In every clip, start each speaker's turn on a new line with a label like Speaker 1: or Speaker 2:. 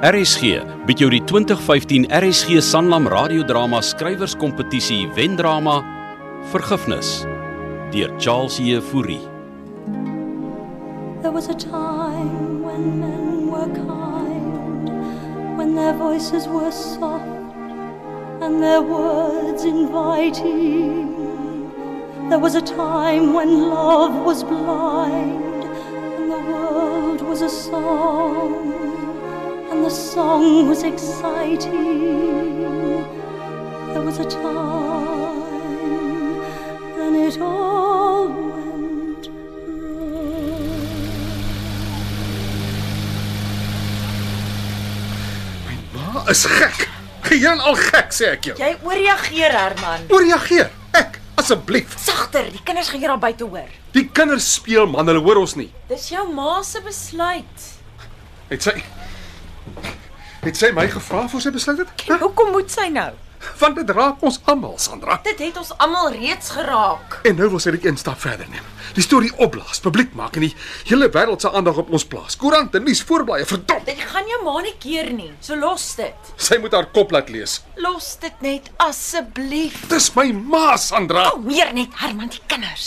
Speaker 1: RSG bied jou die 2015 RSG Sanlam radiodrama skrywerskompetisie wendrama Vergifnis deur Charles Jefouri.
Speaker 2: There was a time when men were kind, when their voices were soft and their words inviting. There was a time when love was blind and the world was a song, and the song was exciting. There was a time, and it all went wrong.
Speaker 3: Ma is gek. Geen al gek sê ek jou.
Speaker 4: Jy ooreageer Herman.
Speaker 3: Ooreageer. Ek asseblief.
Speaker 4: Sagter, die kinders gaan hier al buite hoor.
Speaker 3: Die kinders speel man, hulle hoor ons nie.
Speaker 4: Dis jou ma se besluit.
Speaker 3: Het sy Het sy my gevra voor sy besluit het? Huh?
Speaker 4: Hoekom moet sy nou?
Speaker 3: Want dit raak ons almal, Sandra.
Speaker 4: Dit het ons almal reeds geraak.
Speaker 3: En nou wil sy dit een stap verder neem. Die storie opblaas, publiek maak en die hele wêreld se aandag op ons plaas. Koerante, nuus, voorblaaie, verdom.
Speaker 4: Dit gaan jou ma nie keer nie. So los dit.
Speaker 3: Sy moet haar kop laat lees.
Speaker 4: Los dit net asseblief.
Speaker 3: Dis my ma, Sandra.
Speaker 4: Hou meer net Herman die kinders.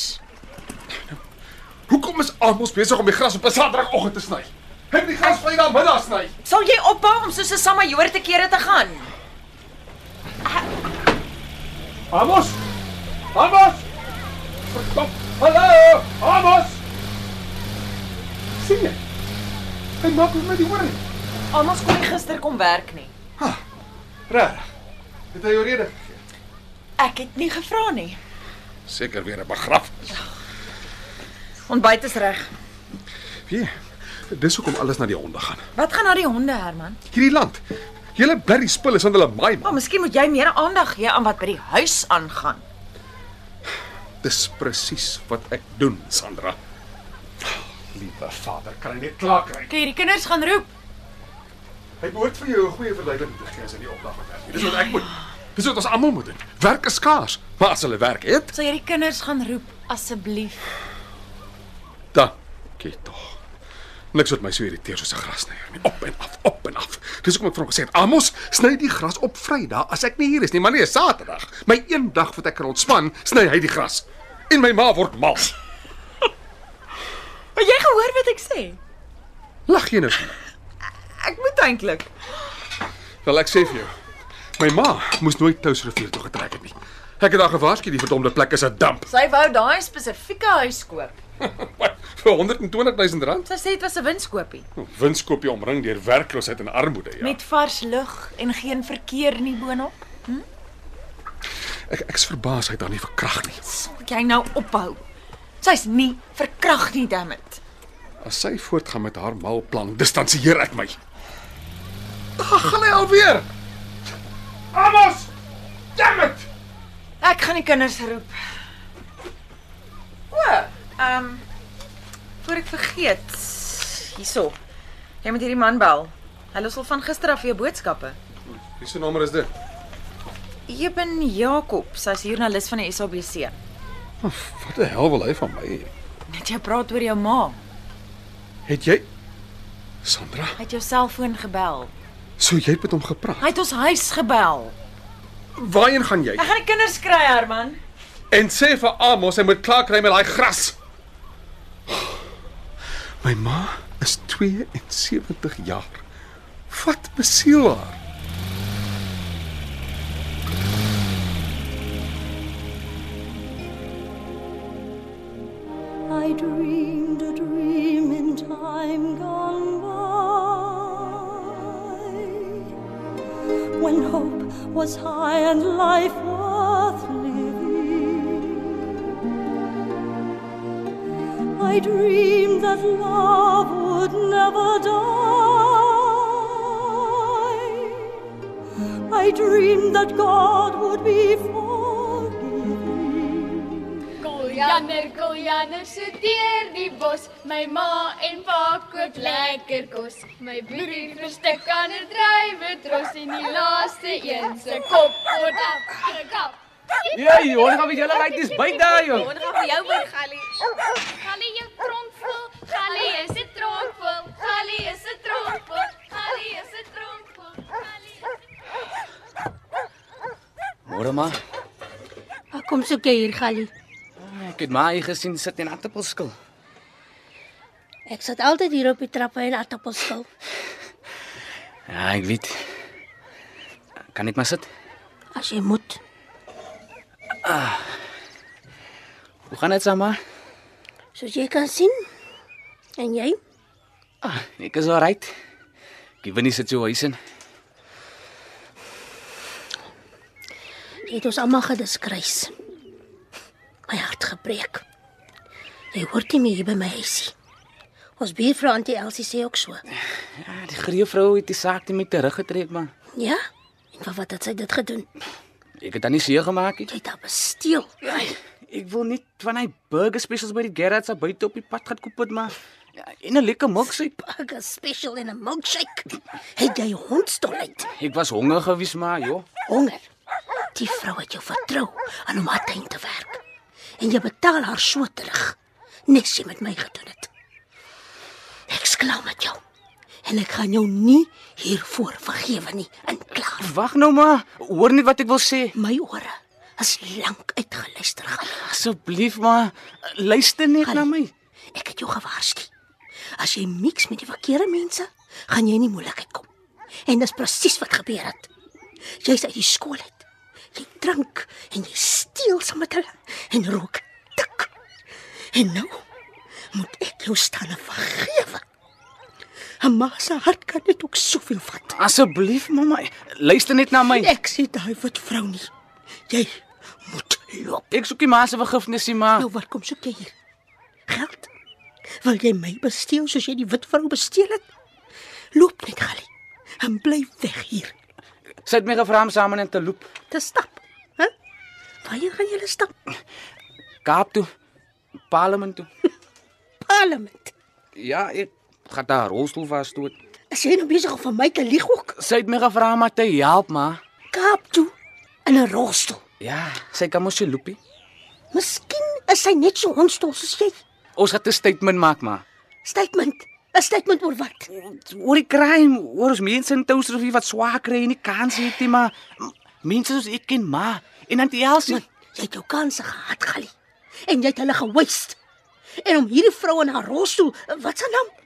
Speaker 3: Hoekom is almal besig om die gras op 'n Saterdagoggend te sny? Ek die gras vry dan middag sny.
Speaker 4: Sal jy ophou om soos 'n samajoor te kere te gaan?
Speaker 3: Amos! Amos! Stop! Hallo! Amos! Sien jy? Hy maak met my die ore.
Speaker 4: Almal kon nie gister kom werk nie.
Speaker 3: Reg. Het hy jou rede?
Speaker 4: Ek het nie gevra nie.
Speaker 3: Seker weer 'n begrafnis.
Speaker 4: Ontbyt is reg.
Speaker 3: Wie? Dis hoekom alles na die honde gaan.
Speaker 4: Wat gaan na die honde Herman?
Speaker 3: Hierdie land. Julle blerrie spul is aan hulle maai
Speaker 4: Maar
Speaker 3: man.
Speaker 4: Oh, miskien moet jy meer aandag gee aan wat by die huis aangaan.
Speaker 3: Dis presies wat ek doen, Sandra. Liewe Vader, kan hy net klaar kry.
Speaker 4: Kyk, die kinders gaan roep.
Speaker 3: Hy behoort vir jou 'n goeie verduideliking te gee as hy nie opdag met werk nie. Dis wat ek moet. Dis wat ons almal moet doen. Werk is skaars, maar as hulle werk het,
Speaker 4: Sal jy die kinders gaan roep asseblief?
Speaker 3: Dankie tog. Niks wat my so irriteer soos 'n grasnyer nie. Op en af, op en af. Dis hoekom ek vroeg gesê het, Amos, sny die gras op Vrydag as ek nie hier is nie, maar nee, Saterdag. My een dag wat ek kan ontspan, sny hy die gras. En my ma word mal.
Speaker 4: Maar jy gehoor wat ek sê.
Speaker 3: Lag jy nou? vir my?
Speaker 4: Ek moet eintlik.
Speaker 3: Wel ek sê vir jou. My ma moes nooit Touwsrivier toe getrek het nie. Ek het haar gewaarsku, die verdomde plek is 'n damp.
Speaker 4: Sy wou daai spesifieke huis koop.
Speaker 3: Vir 120 000 rand.
Speaker 4: Sy sê dit was 'n winskoopie
Speaker 3: Wins koop jy omring deur werkloosheid en armoede, ja.
Speaker 4: met vars lug en geen verkeer nie boonop.
Speaker 3: Ek ek's verbaas hy het haar nie verkrag nie.
Speaker 4: Sal jy nou ophou? Sy's nie verkrag nie, dammit.
Speaker 3: As sy voortgaan met haar mal plan, distansieer ek my. Ag, gaan hy alweer. Amos! Damn it!
Speaker 4: Ek gaan die kinders roep. O, ehm um, voor ek vergeet. Hierso. Jy moet hierdie man bel. Hy los al van gister af jou boodskappe.
Speaker 3: Wie se nommer is dit?
Speaker 4: Eben Jacobs, hy's joernalis van die SABC.
Speaker 3: Wat die hel wil hy van my?
Speaker 4: Net jy praat oor jou ma.
Speaker 3: Het jy Sandra,
Speaker 4: Hy het jou selfoon gebel.
Speaker 3: sou jy het met hom gepraat?
Speaker 4: Hy het ons huis gebel.
Speaker 3: Waarheen gaan jy?
Speaker 4: Ek gaan die kinders kry, Herman.
Speaker 3: En sê vir Amos hy moet klaar kry met daai gras. My ma is 72 jaar. Wat besiel haar?
Speaker 2: I dreamed a dream in time gone by. When hope was high and life worth living. I dreamed that love would never die. I dreamed that God would be forgiving.
Speaker 5: Koljaner, koljaner, so deur nou die bos. My ma en pa koop lekker kos. My broer verstik aan 'n drywe tros en die laaste een se kop word afgekap.
Speaker 6: Jy, hoor gaan jy lyk dis byt daar jou.
Speaker 5: gaan vir jou word Gally. Gally jou tromp vol. Gally is 'n tromp vol. Gally is 'n tromp vol. Gally is 'n tromp
Speaker 6: ouma.
Speaker 7: Kom soek jy hier, Gallie?
Speaker 6: Ek het my gesien sit in aartappelskil.
Speaker 7: Ek sit altyd hier op die trappe en aartappels skil.
Speaker 6: Ja, ek weet. Kan net maar sit.
Speaker 7: As jy moet.
Speaker 6: Hoe gaan dit sommer?
Speaker 7: Soos jy kan sien. En jy?
Speaker 6: Ah, ek is alright. Ek win die situasie.
Speaker 7: Jy het ons almal gediskruis. My hart gebreek. Jy hoort nie meer hier by my huisie. Ons buurvrou Antie Elsie sê ook so.
Speaker 6: Ja, die greefvrou het die saak net met teruggetrek, maar
Speaker 7: Ja? En vir wat het sy dit gedoen?
Speaker 6: ek het dan nie seer gemaak nie.
Speaker 7: Jy het haar gesteel.
Speaker 6: Ai, Ek wil nie van hy burger specials by die Gerards se buite op die pad gaan koop het, maar ja, en 'n lekker milkshake.
Speaker 7: Burger special en 'n milkshake. Het jy hondstol uit?
Speaker 6: Ek was honger gewees, maar joh.
Speaker 7: Honger. Die vrou het jou vertrou aan om haar tuin te werk. En jy betaal haar so terug. Niks jy met my gedoen het. Ek skla met jou. En ek gaan jou nie hiervoor vergewe nie. En klaar.
Speaker 6: Wag nou maar. Hoor net wat ek wil sê.
Speaker 7: My ore is lank uitgeluister gaan.
Speaker 6: Asseblief maar luister net na my.
Speaker 7: Ek het jou gewaarsku. As jy mix met die verkeerde mense, gaan jy in die moeilikheid kom. En dis presies wat gebeur het. Jy's uit die skool uit. Jy drink en jy steel saam met hulle en rook tik. En nou moet ek jou staan en vergewe. 'n Ma se hart kan net ook soveel vat.
Speaker 6: Asseblief mamma, luister net na my.
Speaker 7: Ek sê daai wat vrou nie. Jy moet loop.
Speaker 6: Ek soek die ma se vergifnis, nie, maar
Speaker 7: Nou wat kom soek jy hier? Geld? Wil jy my besteel soos jy die wit vrou besteel het? Loop net, Gally. En bly weg hier.
Speaker 6: sy het my gevra om saam in te loop
Speaker 7: Te stap. Hæ? Waar gaan julle stap?
Speaker 6: Kaap toe, Parlement toe.
Speaker 7: Parlement.
Speaker 6: Ja, ek gaan daar rolstoel vasstoot.
Speaker 7: As jy nou besig om vir my te lieg ook.
Speaker 6: Sy het my gevra om haar te help, maar
Speaker 7: Kaap toe in 'n rolstoel.
Speaker 6: ja, sy kan mos se loopie.
Speaker 7: Miskien is sy net so onstol soos jy.
Speaker 6: Ons gaan 'n statement maak, maar
Speaker 7: Statement. 'n Statement oor wat?
Speaker 6: oor die crime, oor ons mense in Touwsrivier wat swaar kry en nie kans het nie, maar m- mense soos ek ken, maar en dan die Elsie.
Speaker 7: Man, jy het jou kanse gehad, Gally. En jy het hulle gewaste. En om hierdie vrou in haar rolstoel, wat se naam?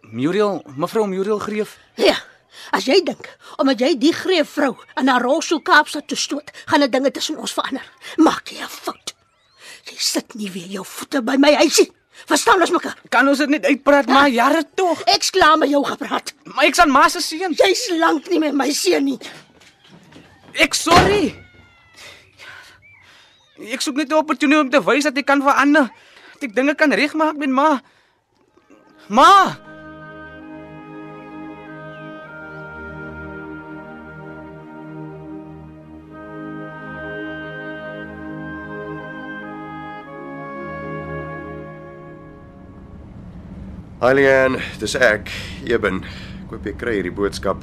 Speaker 6: Muriel, mevrou Muriel Greef.
Speaker 7: Ja. As jy dink omdat jy die greep vrou aan haar rolstoel Kaapstad toe stoot, gaan dit dinge tussen ons verander. Maak jy 'n fout. Jy sit nie weer jou voete by my huisie. Verstaan ons mekaar?
Speaker 6: Kan ons dit net uitpraat, maar jare tog.
Speaker 7: Ek's klaar met jou gepraat.
Speaker 6: Maar ek's aan ma se seun.
Speaker 7: Jy's lank nie met my seun nie.
Speaker 6: Ek sorry. Ek soek net 'n opportuniteit om te wys dat ek kan verander. Dat ek dinge kan regmaak met ma. Ma,
Speaker 8: Alien, dis ek, Eben. Ek hoop jy kry hierdie boodskap.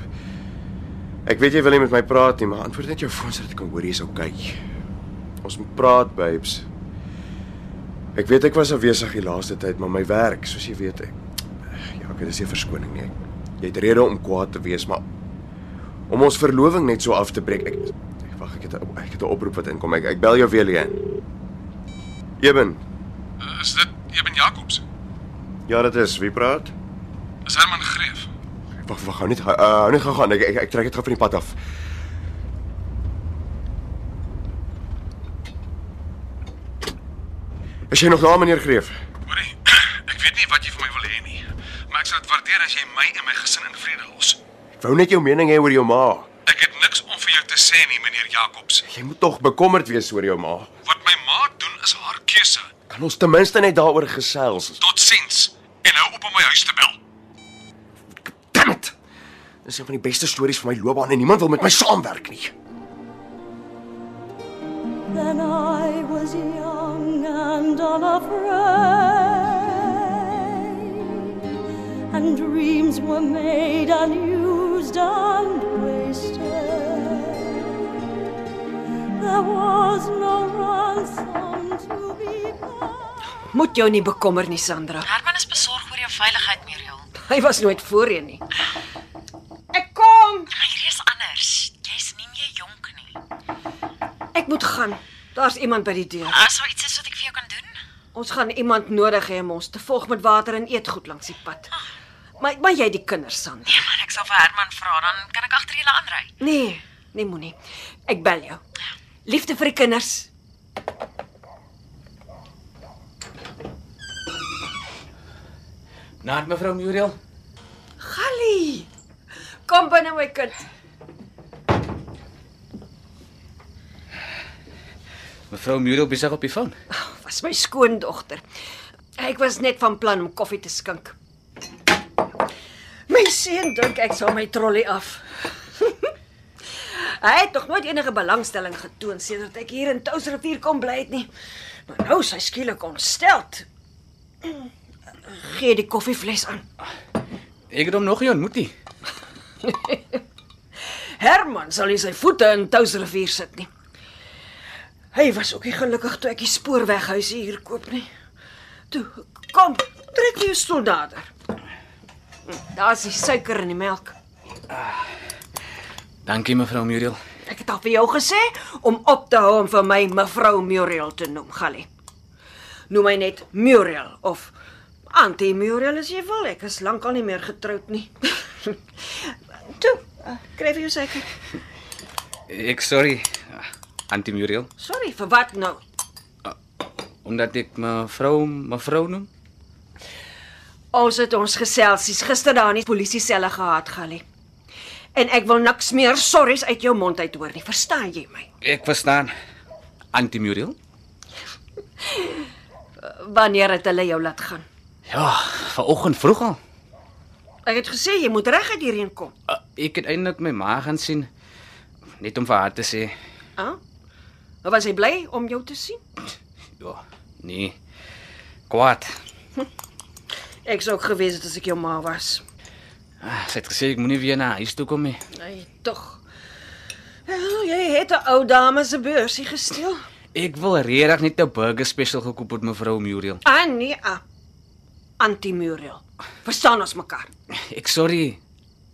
Speaker 8: Ek weet jy wil nie met my praat nie, maar antwoord net jou foon sodat ek kan hoor jy's okay. Ons moet praat, babes. Ek weet ek was afwesig die laaste tyd, maar my werk, soos jy weet, ek ja, ek dis nie 'n verskoning nie. Jy het rede om kwaad te wees, maar om ons verloving net so af te breek, ek ek wag, ek het 'n- ek het 'n oproep wat inkom. Ek ek bel jou weer, Alien. Eben.
Speaker 3: Is dit Eben Jacobs?
Speaker 8: Ja, dit is. Wie praat?
Speaker 3: Is Herman Greef?
Speaker 8: Wag, wag, hou net hou- uh, hou net gou gaan. Ek ek, ek trek dit gou van die pad af. Is jy nog daar, meneer Greef?
Speaker 3: Hoorie, ek weet nie wat jy van my wil hê nie, maar ek sal dit waardeer as jy my en my gesin in vrede los.
Speaker 8: Ek wou net jou mening hê oor jou ma.
Speaker 3: Ek het niks om vir jou te sê nie, meneer Jacobs.
Speaker 8: Jy moet tog bekommerd wees oor jou ma.
Speaker 3: Wat my ma doen is haar keuse.
Speaker 8: Kan ons ten minste net daaroor gesels?
Speaker 3: Tot sins en hou op om my huis te bel.
Speaker 8: Damn it. Dis een van die beste stories van my loopbaan en niemand wil met my saamwerk nie.
Speaker 2: Then I was young and unafraid, and dreams were made and used and wasted. There was no ransom to be paid.
Speaker 9: Moet jou nie bekommer nie, Sandra.
Speaker 10: Herman is besorg oor jou veiligheid, Muriel.
Speaker 9: Hy was nooit voorheen nie.
Speaker 10: Hierdie is anders. Jy's nie meer jonk nie.
Speaker 9: Ek moet gaan. Daar's iemand by die deur.
Speaker 10: As daar iets is wat ek vir jou kan doen?
Speaker 9: Ons gaan iemand nodig hê om ons te volg met water en eetgoed langs die pad. Maar maar jy die kinders, Sandra.
Speaker 10: Nee man, ek sal vir Herman vra, dan kan ek agter julle aanry.
Speaker 9: Nee, nee moenie. Ek bel jou. Liefde vir die kinders.
Speaker 6: Naat mevrou Muriel.
Speaker 9: Gallie. Kom binne my kind.
Speaker 6: Mevrou Muriel besig op die foon.
Speaker 9: Was my skoondogter. Ek was net van plan om koffie te skink. My seun dink ek sal my trolly af. Hy het nog nooit enige belangstelling getoon sedert ek hier in Touwsrivier kom bly het nie. Maar nou is hy skielik ontsteld. Gee die koffievles aan.
Speaker 6: Ek het hom nog nie ontmoet nie.
Speaker 9: Herman sal nie sy voete in Touwsrivier sit nie. Hy was ook nie gelukkig toe ek die spoorweghuise hier koop nie. Toe, kom, trek jou stoel nader. Daar's die suiker in die melk.
Speaker 6: Dankie mevrou Muriel.
Speaker 9: Ek het al vir jou gesê om op te hou om vir my mevrou Muriel te noem, Gallie. Noem my net Muriel of Auntie Muriel as jy wil. Ek is lankal nie meer getroud nie. Toe, eh, kry vir jou suiker.
Speaker 6: Ek sorry. Antie Muriel,
Speaker 9: Sorry, vir wat nou?
Speaker 6: omdat ek mevrou mevrou noem.
Speaker 9: Ons het ons geselsies gister daar in die polisie selle gehad, Gallie. En ek wil niks meer sorries uit jou mond uit hoor nie. Verstaan jy my?
Speaker 6: Ek verstaan. Antie Muriel?
Speaker 9: Wanneer het hulle jou laat gaan?
Speaker 6: Ja, vanoggend vroeg al.
Speaker 9: Ek het gesê jy moet reguit hierheen kom.
Speaker 6: Uh, Ek het eintlik my ma gaan sien net om vir haar te sê,
Speaker 9: Ah? Maar was hy bly om jou te sien?
Speaker 6: ja, nee. Kwaad.
Speaker 9: Ek sou ook gewees het as ek jou ma was.
Speaker 6: Ah, Sy het gesê ek moenie weer na huis toe kom nie.
Speaker 9: Nee, tog. Wel, jy het 'n ou dame se beursie gesteel.
Speaker 6: Ek wil regtig net 'n burger special gekoop het mevrou Muriel.
Speaker 9: Ah nee, ah. Anti-Muriel. Verstaan ons mekaar?
Speaker 6: Ek sorry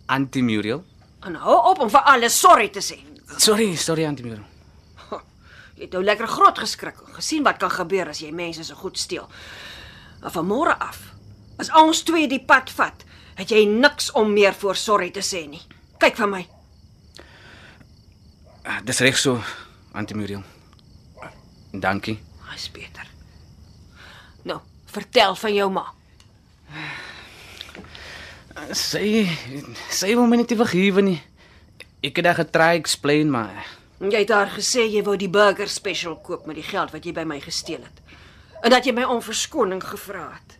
Speaker 6: Antie Muriel.
Speaker 9: En hou op om vir alles sorry te sê.
Speaker 6: Sorry, sorry Antie Muriel.
Speaker 9: Jy het nou lekker groot geskrik en gesien wat kan gebeur as jy mense se goed steel. Maar van môre af, as ons twee die pad vat, het jy niks om meer voor sorry te sê nie. Kyk vir my.
Speaker 6: Ah, Dis reg so Antie Muriel. Dankie.
Speaker 9: Dis beter. Nou, vertel van jou ma.
Speaker 6: Sy sy wil my net nie vergewe nie. Ek het haar getry explain maar
Speaker 9: Jy het haar gesê jy wou die burger special koop met die geld wat jy by my gesteel het. En dat jy my om verskoning gevra het.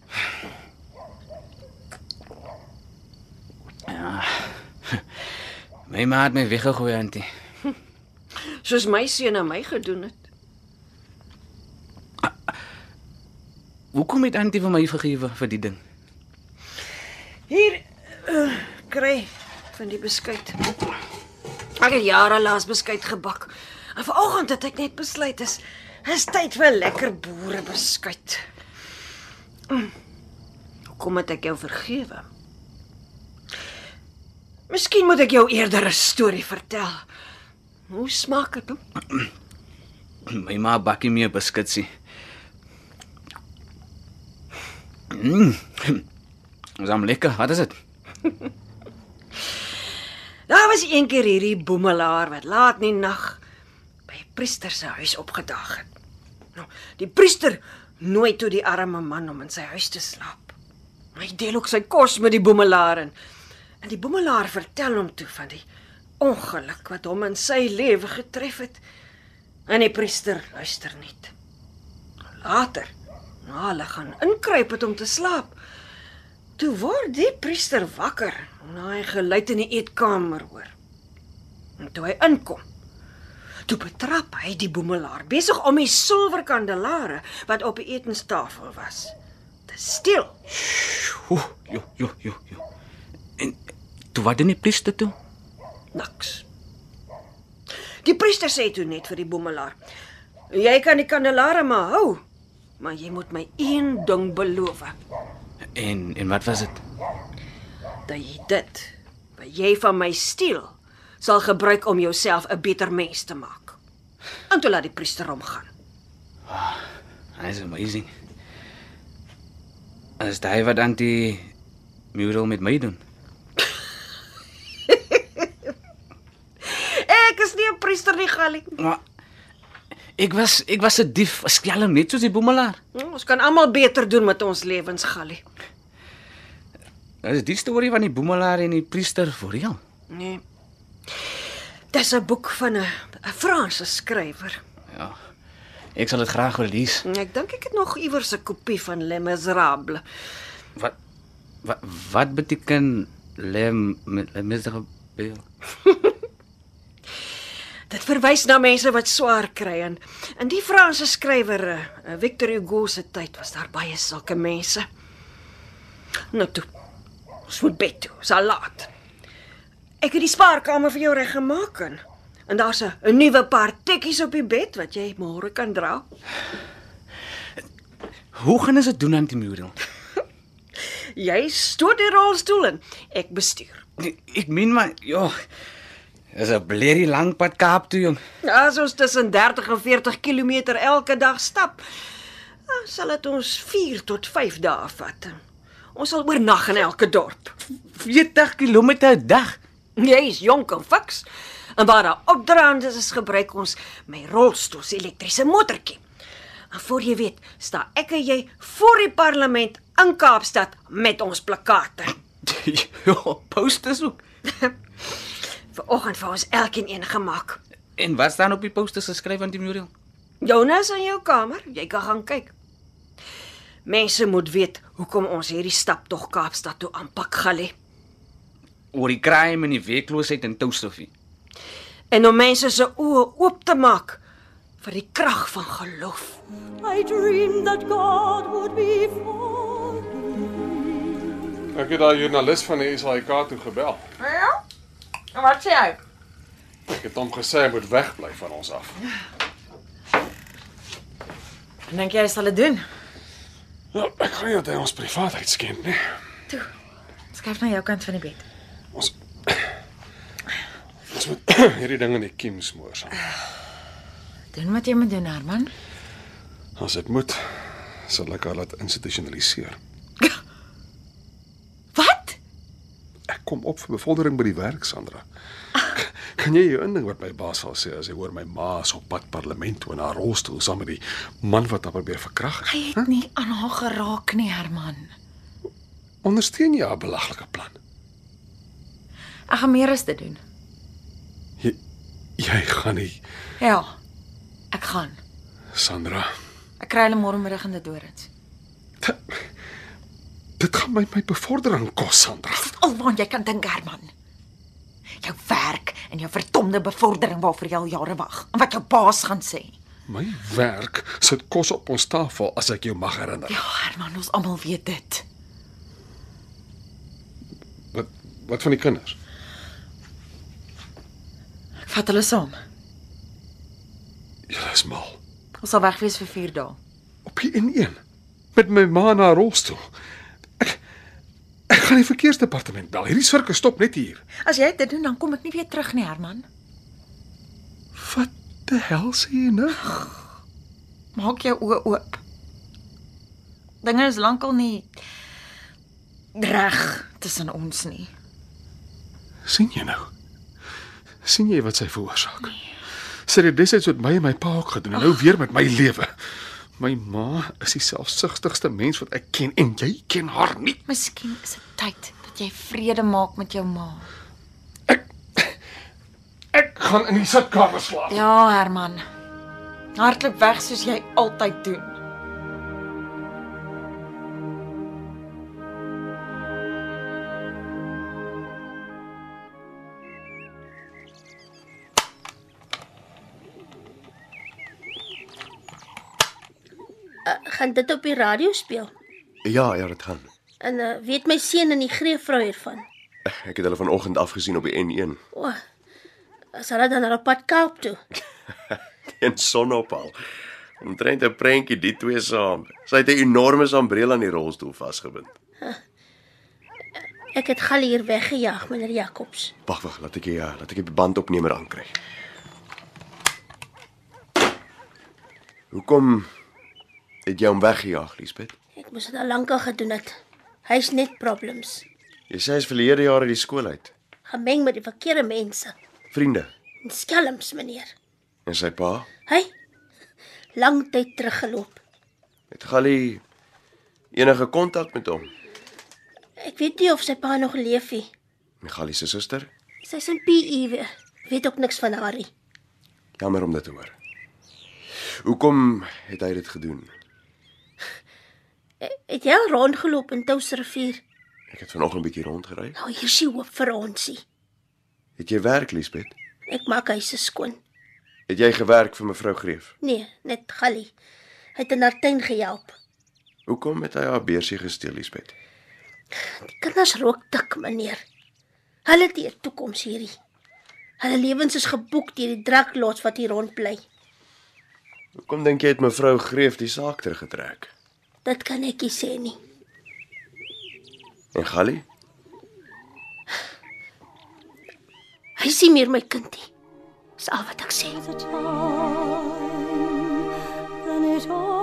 Speaker 6: my ma het my weggegooi Antie.
Speaker 9: Soos my seun aan my gedoen het.
Speaker 6: Hoekom het Antie vir my vergewe vir die ding?
Speaker 9: Hier uh, kry van die beskuit. Ek het jare lank beskuit gebak. En vanoggend het ek net besluit is is tyd vir lekker boere beskuit. Mm. Hoekom het ek jou vergewe? Miskien moet ek jou eerder 'n storie vertel. Hoe smaak dit? Hm?
Speaker 6: My ma bak nie meer beskutsie. Mm. Ons am lekker. Wat is dit?
Speaker 9: Daar was eendag hierdie boemelaar wat laat in die nag by 'n priester se huis opgedag het. Nou, die priester nooi toe die arme man om in sy huis te slaap. Maar hy deel ook sy kos met die boemelaar en en die boemelaar vertel hom toe van die ongeluk wat hom in sy lewe getref het. En die priester luister nie. Later, na hulle gaan inkruip het om te slaap, Toe word die priester wakker na hy geluid in die eetkamer hoor. En toe hy inkom, toe betrap hy die boemelaar besig om die silwer kandelaare wat op die etenstafel was te steel.
Speaker 6: Oeh, jo, jo, jo, jo. En toe wat doen die priester toe?
Speaker 9: Niks. Die priester sê toe net vir die boemelaar: "Jy kan die kandelaare maar hou, maar jy moet my een ding beloof."
Speaker 6: En en wat was dit?
Speaker 9: dat jy dit wat jy van my steel sal gebruik om jouself 'n beter mens te maak. En toe laat die priester hom gaan.
Speaker 6: That's amazing. As daai wat dan die mural met my doen.
Speaker 9: Ek is nie 'n priester nie, Gallie.
Speaker 6: Maar ek was ek was 'n dief, 'n skelm net soos die boemelaar.
Speaker 9: Hmm, Ons kan almal beter doen met ons lewens, Gallie.
Speaker 6: Is die storie van die boemelaar en die priester voor reël?
Speaker 9: Nee. Dis 'n boek van 'n 'n Franse skrywer. Hmm,
Speaker 6: Ja. Ek sal dit graag wil lees.
Speaker 9: Ek dink ek het nog iewers 'n kopie van Les Misérables.
Speaker 6: Wat wat wat beteken lem miserabel?
Speaker 9: Dit verwys na mense wat swaar kry en in die Franse skrywer eh, Victor Hugo se tyd was daar baie sulke mense. Nou toe. Ons moet bed toe, salaat. Ek het die spaarkamer vir jou reggemaak en en daar's 'n 'n nuwe paar tekkies op die bed wat jy môre kan dra.
Speaker 6: Hoe gaan ons dit doen aan die mural?
Speaker 9: Jy stoot die rolstoel en ek bestuur.
Speaker 6: Nee, Ek meen maar, ja. Is 'n blerrie lang pad Kaap toe, jong.
Speaker 9: As ons tussen 30 en 40 km elke dag stap, dan sal dit ons 4 tot 5 dae vat. Ons sal oornag in elke dorp.
Speaker 6: 40 km 'n dag.
Speaker 9: Jy is jonk en fiks. En waar daar opdraand is, is gebruik ons my rolstoel se elektriese motortjie. En voor jy weet, sta ek en jy voor die parlement in Kaapstad met ons plakate.
Speaker 6: ja, posters ook.
Speaker 9: Vanoggend vir ons elkeen een gemaak.
Speaker 6: En wat staan op die posters geskryf aan die mural?
Speaker 9: Jonas in jou kamer, jy kan gaan kyk. Mense moet weet hoekom ons hierdie stap tog Kaapstad toe aanpak galie.
Speaker 6: Oor die crime en die werkloosheid in Touwsrivier.
Speaker 9: En om mense se oë oop te maak vir die krag van geloof.
Speaker 2: I dreamed that God would be for
Speaker 3: Ek het daai joernalis van die SAIK toe gebel.
Speaker 4: Ja. En wat sê hy?
Speaker 3: Ek het hom gesê hy moet wegbly van ons af.
Speaker 4: Dink jy hy sal dit doen?
Speaker 3: Ja, ek glo dat hy ons privaatheid skend, nee.
Speaker 4: Skuif na jou kant van die bed.
Speaker 3: Ons Ons moet hierdie ding in die kiem smoor. saam.
Speaker 4: Doen wat jy moet doen, Herman.
Speaker 3: As dit moet, sal ek haar laat institusionaliseer.
Speaker 4: Wat?
Speaker 3: Ek kom op vir bevordering by die werk, Sandra. Kan jy jou indink wat my baas sal sê as hy hoor my ma is op pad parlement toe in haar rolstoel saam met die man wat haar probeer verkrag?
Speaker 4: Hy het nie aan haar geraak nie, Herman.
Speaker 3: Ondersteun jy haar belaglike plan?
Speaker 4: Ek gaan meer as dit doen.
Speaker 3: Jy, jy gaan nie,
Speaker 4: Ja. Ek gaan.
Speaker 3: Sandra.
Speaker 4: Ek kry hulle môre middag in die dorings.
Speaker 3: Dit gaan my my bevordering kos, Sandra.
Speaker 4: Alwaar jy kan dink, Herman. Jou werk en jou verdomde bevordering waarvoor jy al jare wag en wat jou baas gaan sê.
Speaker 3: My werk sit kos op ons tafel as ek jou mag herinner.
Speaker 4: Ja, Herman, ons almal weet dit.
Speaker 3: Wat wat van die kinders?
Speaker 4: Ek vat hulle saam.
Speaker 3: Julle is mal.
Speaker 4: Ons sal weg wees vir 4 dae.
Speaker 3: Op die N1 met my ma na haar rolstoel. Ek ek gaan die verkeersdepartement bel. Hierdie sirkus stop net hier.
Speaker 4: As jy dit doen, dan kom ek nie weer terug nie, Herman.
Speaker 3: Wat die hel sê jy nou?
Speaker 4: Maak jou oë oop. Dinge is lankal nie reg tussen ons nie.
Speaker 3: sien jy nou? sien jy wat sy veroorsaak? Sy het dit destyds met my en my pa ook gedoen en nou weer met my lewe. My ma is die selfsugtigste mens wat ek ken en jy ken haar nie.
Speaker 4: Miskien is dit tyd dat jy vrede maak met jou ma.
Speaker 3: Ek gaan in die sitkamer slaap.
Speaker 4: Ja, Herman. Hardloop weg soos jy altyd doen.
Speaker 7: Gaan dit op die radio speel?
Speaker 8: Ja, ja, dit gaan.
Speaker 7: En uh, weet my seun en die greefvrou hiervan.
Speaker 8: Ek het hulle vanoggend afgesien op die N1
Speaker 7: O. Oh, as hulle dan op pad Kaap toe.
Speaker 8: teen sonopal. Omtrent 'n prentjie die twee saam. Sy het 'n enorme sambreel aan die rolstoel vasgebind.
Speaker 7: Ek het Gal hier weggejaag, meneer Jacobs.
Speaker 8: eh, Wag, wag, laat ek ja, laat ek die bandopnemer aankry. Hoekom het jy hom weggejaag, Liesbeth?
Speaker 7: Ek moes dit al lank al gedoen het. Hy's net problems.
Speaker 8: Jy sê hy's verlede jaar uit die skool uit.
Speaker 7: Gemeng met die verkeerde mense.
Speaker 8: Vriende
Speaker 7: En skelms, meneer.
Speaker 8: en sy pa
Speaker 7: Hy lang tyd teruggeloop.
Speaker 8: het Gallie enige kontak met hom.
Speaker 7: Ek weet nie of sy pa nog leef nie.
Speaker 8: En Gallie se suster?
Speaker 7: Sy's in PE weer. Weet ook niks van haar nie.
Speaker 8: Jammer om dit te hoor. Hoekom het hy dit gedoen?
Speaker 7: E- Het jy al rondgeloop in Touwsrivier?
Speaker 8: Ek het vanoggend 'n bietjie rondgery.
Speaker 7: Nou hier sien hoop vir ons. nie.
Speaker 8: Het jy werk, Liesbeth?
Speaker 7: Ek maak huise skoon.
Speaker 8: Het jy gewerk vir mevrou Greef?
Speaker 7: Nee, net Gallie. Hy het in haar tuin gehelp.
Speaker 8: Hoekom het hy haar beursie gesteel, Liesbeth?
Speaker 7: Die kinders rook dik, meneer. Hulle het nie 'n toekoms hierdie. Hulle lewens is geboek deur die draklots wat hier rond bly.
Speaker 8: Hoekom dink jy het mevrou Greef die saak teruggetrek?
Speaker 7: Dit kan ek nie sê nie.
Speaker 8: En Gallie?
Speaker 7: Hy sien meer my kindie. Dis al wat ek sê.
Speaker 2: Then it all went wrong.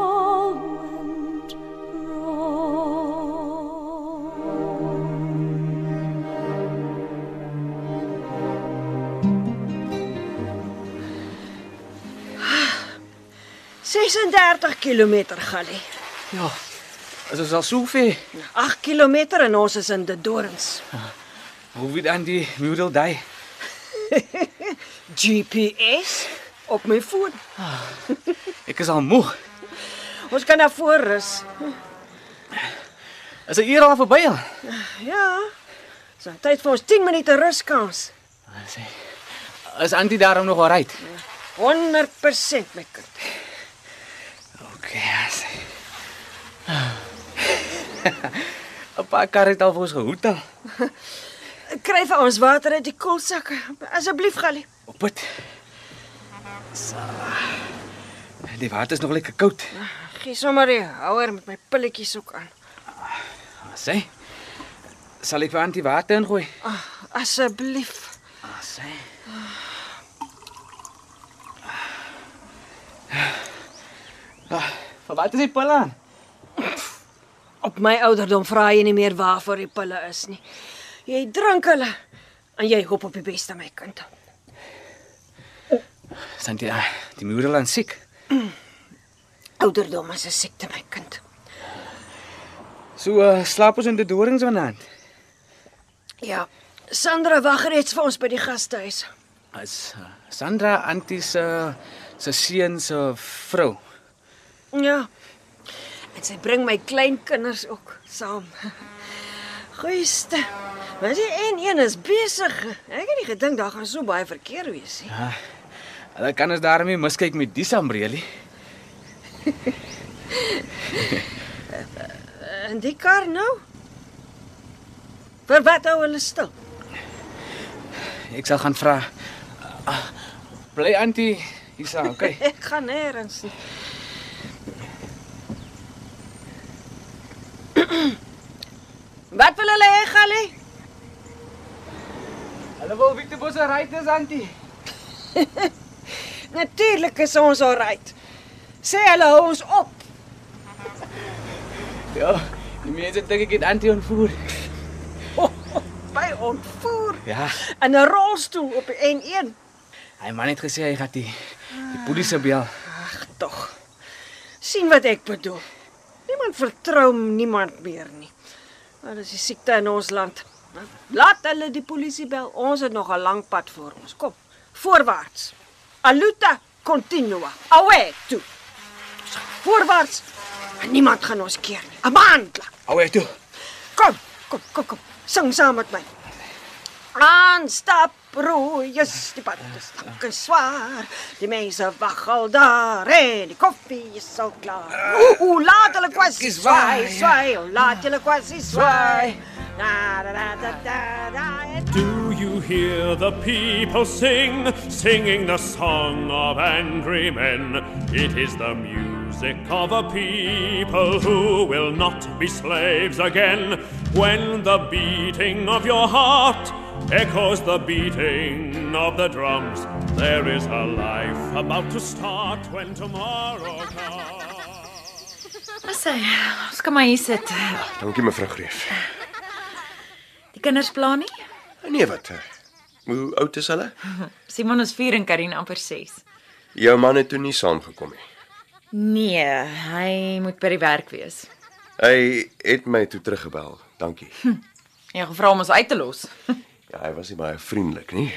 Speaker 9: "36 km galie.
Speaker 6: Ja. Dit is al soveel.
Speaker 9: 8 km en ons is in die dorings.
Speaker 6: Hoe wie dan die Moodle Day?
Speaker 9: GPS op my foon.
Speaker 6: Ek is al moeg.
Speaker 9: Ons kan daar voor rus.
Speaker 6: Is 'n uur al verby al?
Speaker 9: Ja. So tyd vir ons 10 minute ruskans.
Speaker 6: Is Antie daarom nog al right?
Speaker 9: 100% my kind.
Speaker 6: Okay, as. 'n Paar karre het al vir ons gehoed al.
Speaker 9: Kry vir ons water uit die koelsak asseblief Gallie.
Speaker 6: Op dit. So. Die water is nog lekker koud.
Speaker 9: Gee sommer die houer met my pilletjies ook aan.
Speaker 6: Sê. Sal ek vir Antie water ingooi?
Speaker 9: Asseblief.
Speaker 6: Ah, sê. Ah, vir wat is die pil aan?
Speaker 9: Op my ouderdom vra jy nie meer waarvoor die pille is nie. Jy drink hulle en jy hoop op die beste my kind.
Speaker 6: Santi, die moeder aan siek.
Speaker 9: Ouderdom is 'n siekte my kind.
Speaker 6: So uh, slaap ons in die dorings vanaand.
Speaker 9: Ja. Sandra wag reeds vir ons by die gastehuis.
Speaker 6: As uh, Sandra Antie se se seun se vrou.
Speaker 9: Ja. En sy bring my kleinkinders ook saam. Goeieste. Maar die een een is besig. Ek het nie gedink daar gaan so baie verkeer wees nie.
Speaker 6: Ja. Hulle kan ons daarmee miskyk met die Sambreli.
Speaker 9: En die kar nou? Vir wat hou hulle stil?
Speaker 6: Ek sal gaan vra. Ah, Bly Antie hier sa, okay?
Speaker 9: Ek gaan nêrens nie. Wat wil hulle hê, Gallie?
Speaker 6: Hulle wil Victor Bosse ryters Antie.
Speaker 9: Natuurlik is ons alright. Sê hulle hou ons op.
Speaker 6: Ja, die mense dink ek het Antie ontvoer.
Speaker 9: By ontvoer
Speaker 6: Ja,
Speaker 9: in 'n rolstoel op die N1.
Speaker 6: hy man het gesê hy gaan die die polisie bel.
Speaker 9: Tog. sien wat ek bedoel. Niemand vertrou niemand meer nie. Maar dis die siekte in ons land. Laat hulle die polisie bel. Ons het nog 'n lang pad voor ons. Kom. Voorwaarts. Aluta continua. Away toe. Ons gaan Voorwaarts. En niemand gaan ons keer nie. Amandla.
Speaker 6: Ou toe.
Speaker 9: Kom, kom, kom, kom. Sing saam met my. Aanstap, roeies, die pad is lank en swaar. Die mense wag al daar en die koffie is al klaar. Ooh, ooh, laat hulle kwassie
Speaker 6: Kwassie swaai,
Speaker 9: swaai, swaai, ooh, laat hulle kwassie swaai. Da da da da da. da.
Speaker 11: Do you hear the people sing, singing the song of angry men? It is the music of a people who will not be slaves again. When the beating of your heart echoes the beating of the drums, There is a life about to start when tomorrow comes.
Speaker 4: Ons sê, ons kan maar hier sit.
Speaker 8: Dankie mevrou Greef.
Speaker 4: Die kinders pla nie.
Speaker 8: Nee, wat? eh, Hoe oud is hulle?
Speaker 4: Simon is 4 en Karin amper 6.
Speaker 8: Jou man het toe nie saamgekom nie.
Speaker 4: Nee, hy moet by die werk wees.
Speaker 8: Hy het my toe teruggebel. Dankie.
Speaker 4: Jy gevra om ons uit te los.
Speaker 8: Ja, hy was nie baie vriendelik nie.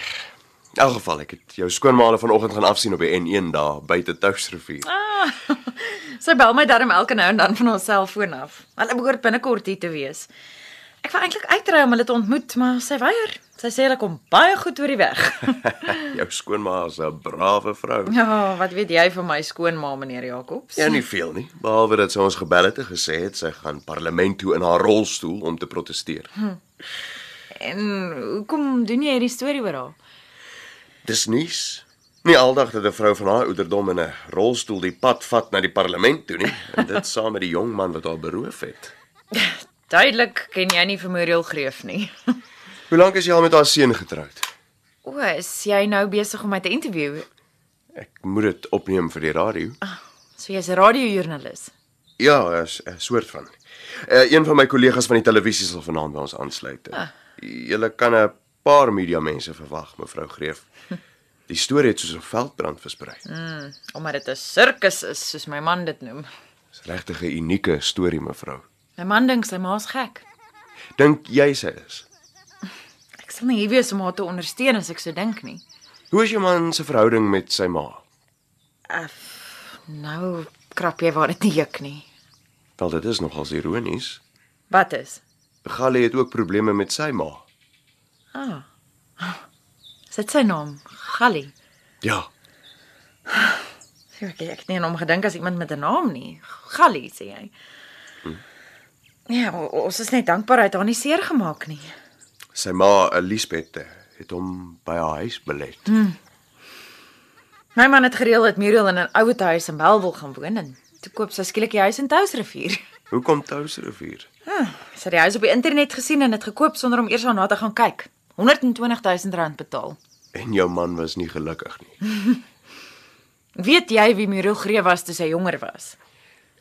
Speaker 8: In elk geval, ek het jou skoonmaale vanoggend gaan afsien op die N1 daar buite Touwsrivier.
Speaker 4: Ah, sy bel my darm elke nou en dan van ons selfoon af. Hulle behoort binnekort hier te wees. Ek wou eintlik uitry om hulle te ontmoet, maar sy weier. Sy sê hulle kom baie goed oor die weg.
Speaker 8: jou skoonma is 'n brawe vrou.
Speaker 4: Ja, wat weet jy van my skoonma, meneer Jacobs?
Speaker 8: Ja, nie veel nie, behalwe dat sy ons gebel het en gesê het sy gaan parlement toe in haar rolstoel om te proteseer.
Speaker 4: Hm. En hoekom doen jy hierdie storie oor haar?
Speaker 8: Dis nuus. Nie aldag dat 'n vrou van haar ouderdom in 'n rolstoel die pad vat na die parlement toe nie, en dit saam met die jong man wat haar beroof het.
Speaker 4: Duidelik ken jy nie Vermoriel Greef nie.
Speaker 8: Hoe lank is jy al met haar seun getroud?
Speaker 4: O, is jy nou besig om my te interview?
Speaker 8: Ek moet dit opneem vir die radio.
Speaker 4: So jy's 'n radiojoernalis.
Speaker 8: Ja, 'n s- 'n soort van. Uh, een van my kollegas van die televisie sal vanaand by ons aansluit.
Speaker 4: Ah.
Speaker 8: Ah. Julle kan 'n paar media mense verwag, mevrou Greef. Die storie het soos 'n veldbrand versprei.
Speaker 4: Mm, omdat dit 'n sirkus is, soos my man dit noem.
Speaker 8: Dis regtig 'n unieke storie, mevrou.
Speaker 4: My man dink sy ma's gek.
Speaker 8: Dink jy sy is?
Speaker 4: Ek sal nie hier wees om haar te ondersteun as ek so dink nie.
Speaker 8: Hoe is jou man se verhouding met sy ma?
Speaker 4: Af, nou krap jy waar dit nie juk nie.
Speaker 8: Wel, dit is nogals ironies.
Speaker 4: Wat is?
Speaker 8: Galie het ook probleme met sy ma.
Speaker 4: Ah. Sit sy naam, Gallie.
Speaker 8: Ja,
Speaker 4: Sjoe, Ek ek het nie aan hom gedink as iemand met 'n naam nie. Gallie sê jy.
Speaker 8: Hm.
Speaker 4: Ja, o- ons is net dankbaar hy het haar nie seer gemaak nie.
Speaker 8: sy ma, Elisabeth, het hom by haar huis belet.
Speaker 4: Hmm. My man het gereël dat Muriel in 'n ouete huis in Belwel gaan woon en toe koop sy skielik die huis in Touwsrivier.
Speaker 8: Hoekom Touwsrivier?
Speaker 4: Ah, sy het die huis op die internet gesien en dit gekoop sonder om eers daarna te gaan kyk. 120000 rand betaal.
Speaker 8: En jou man was nie gelukkig nie.
Speaker 4: Weet jy wie Muriel Gree was toe sy jonger was?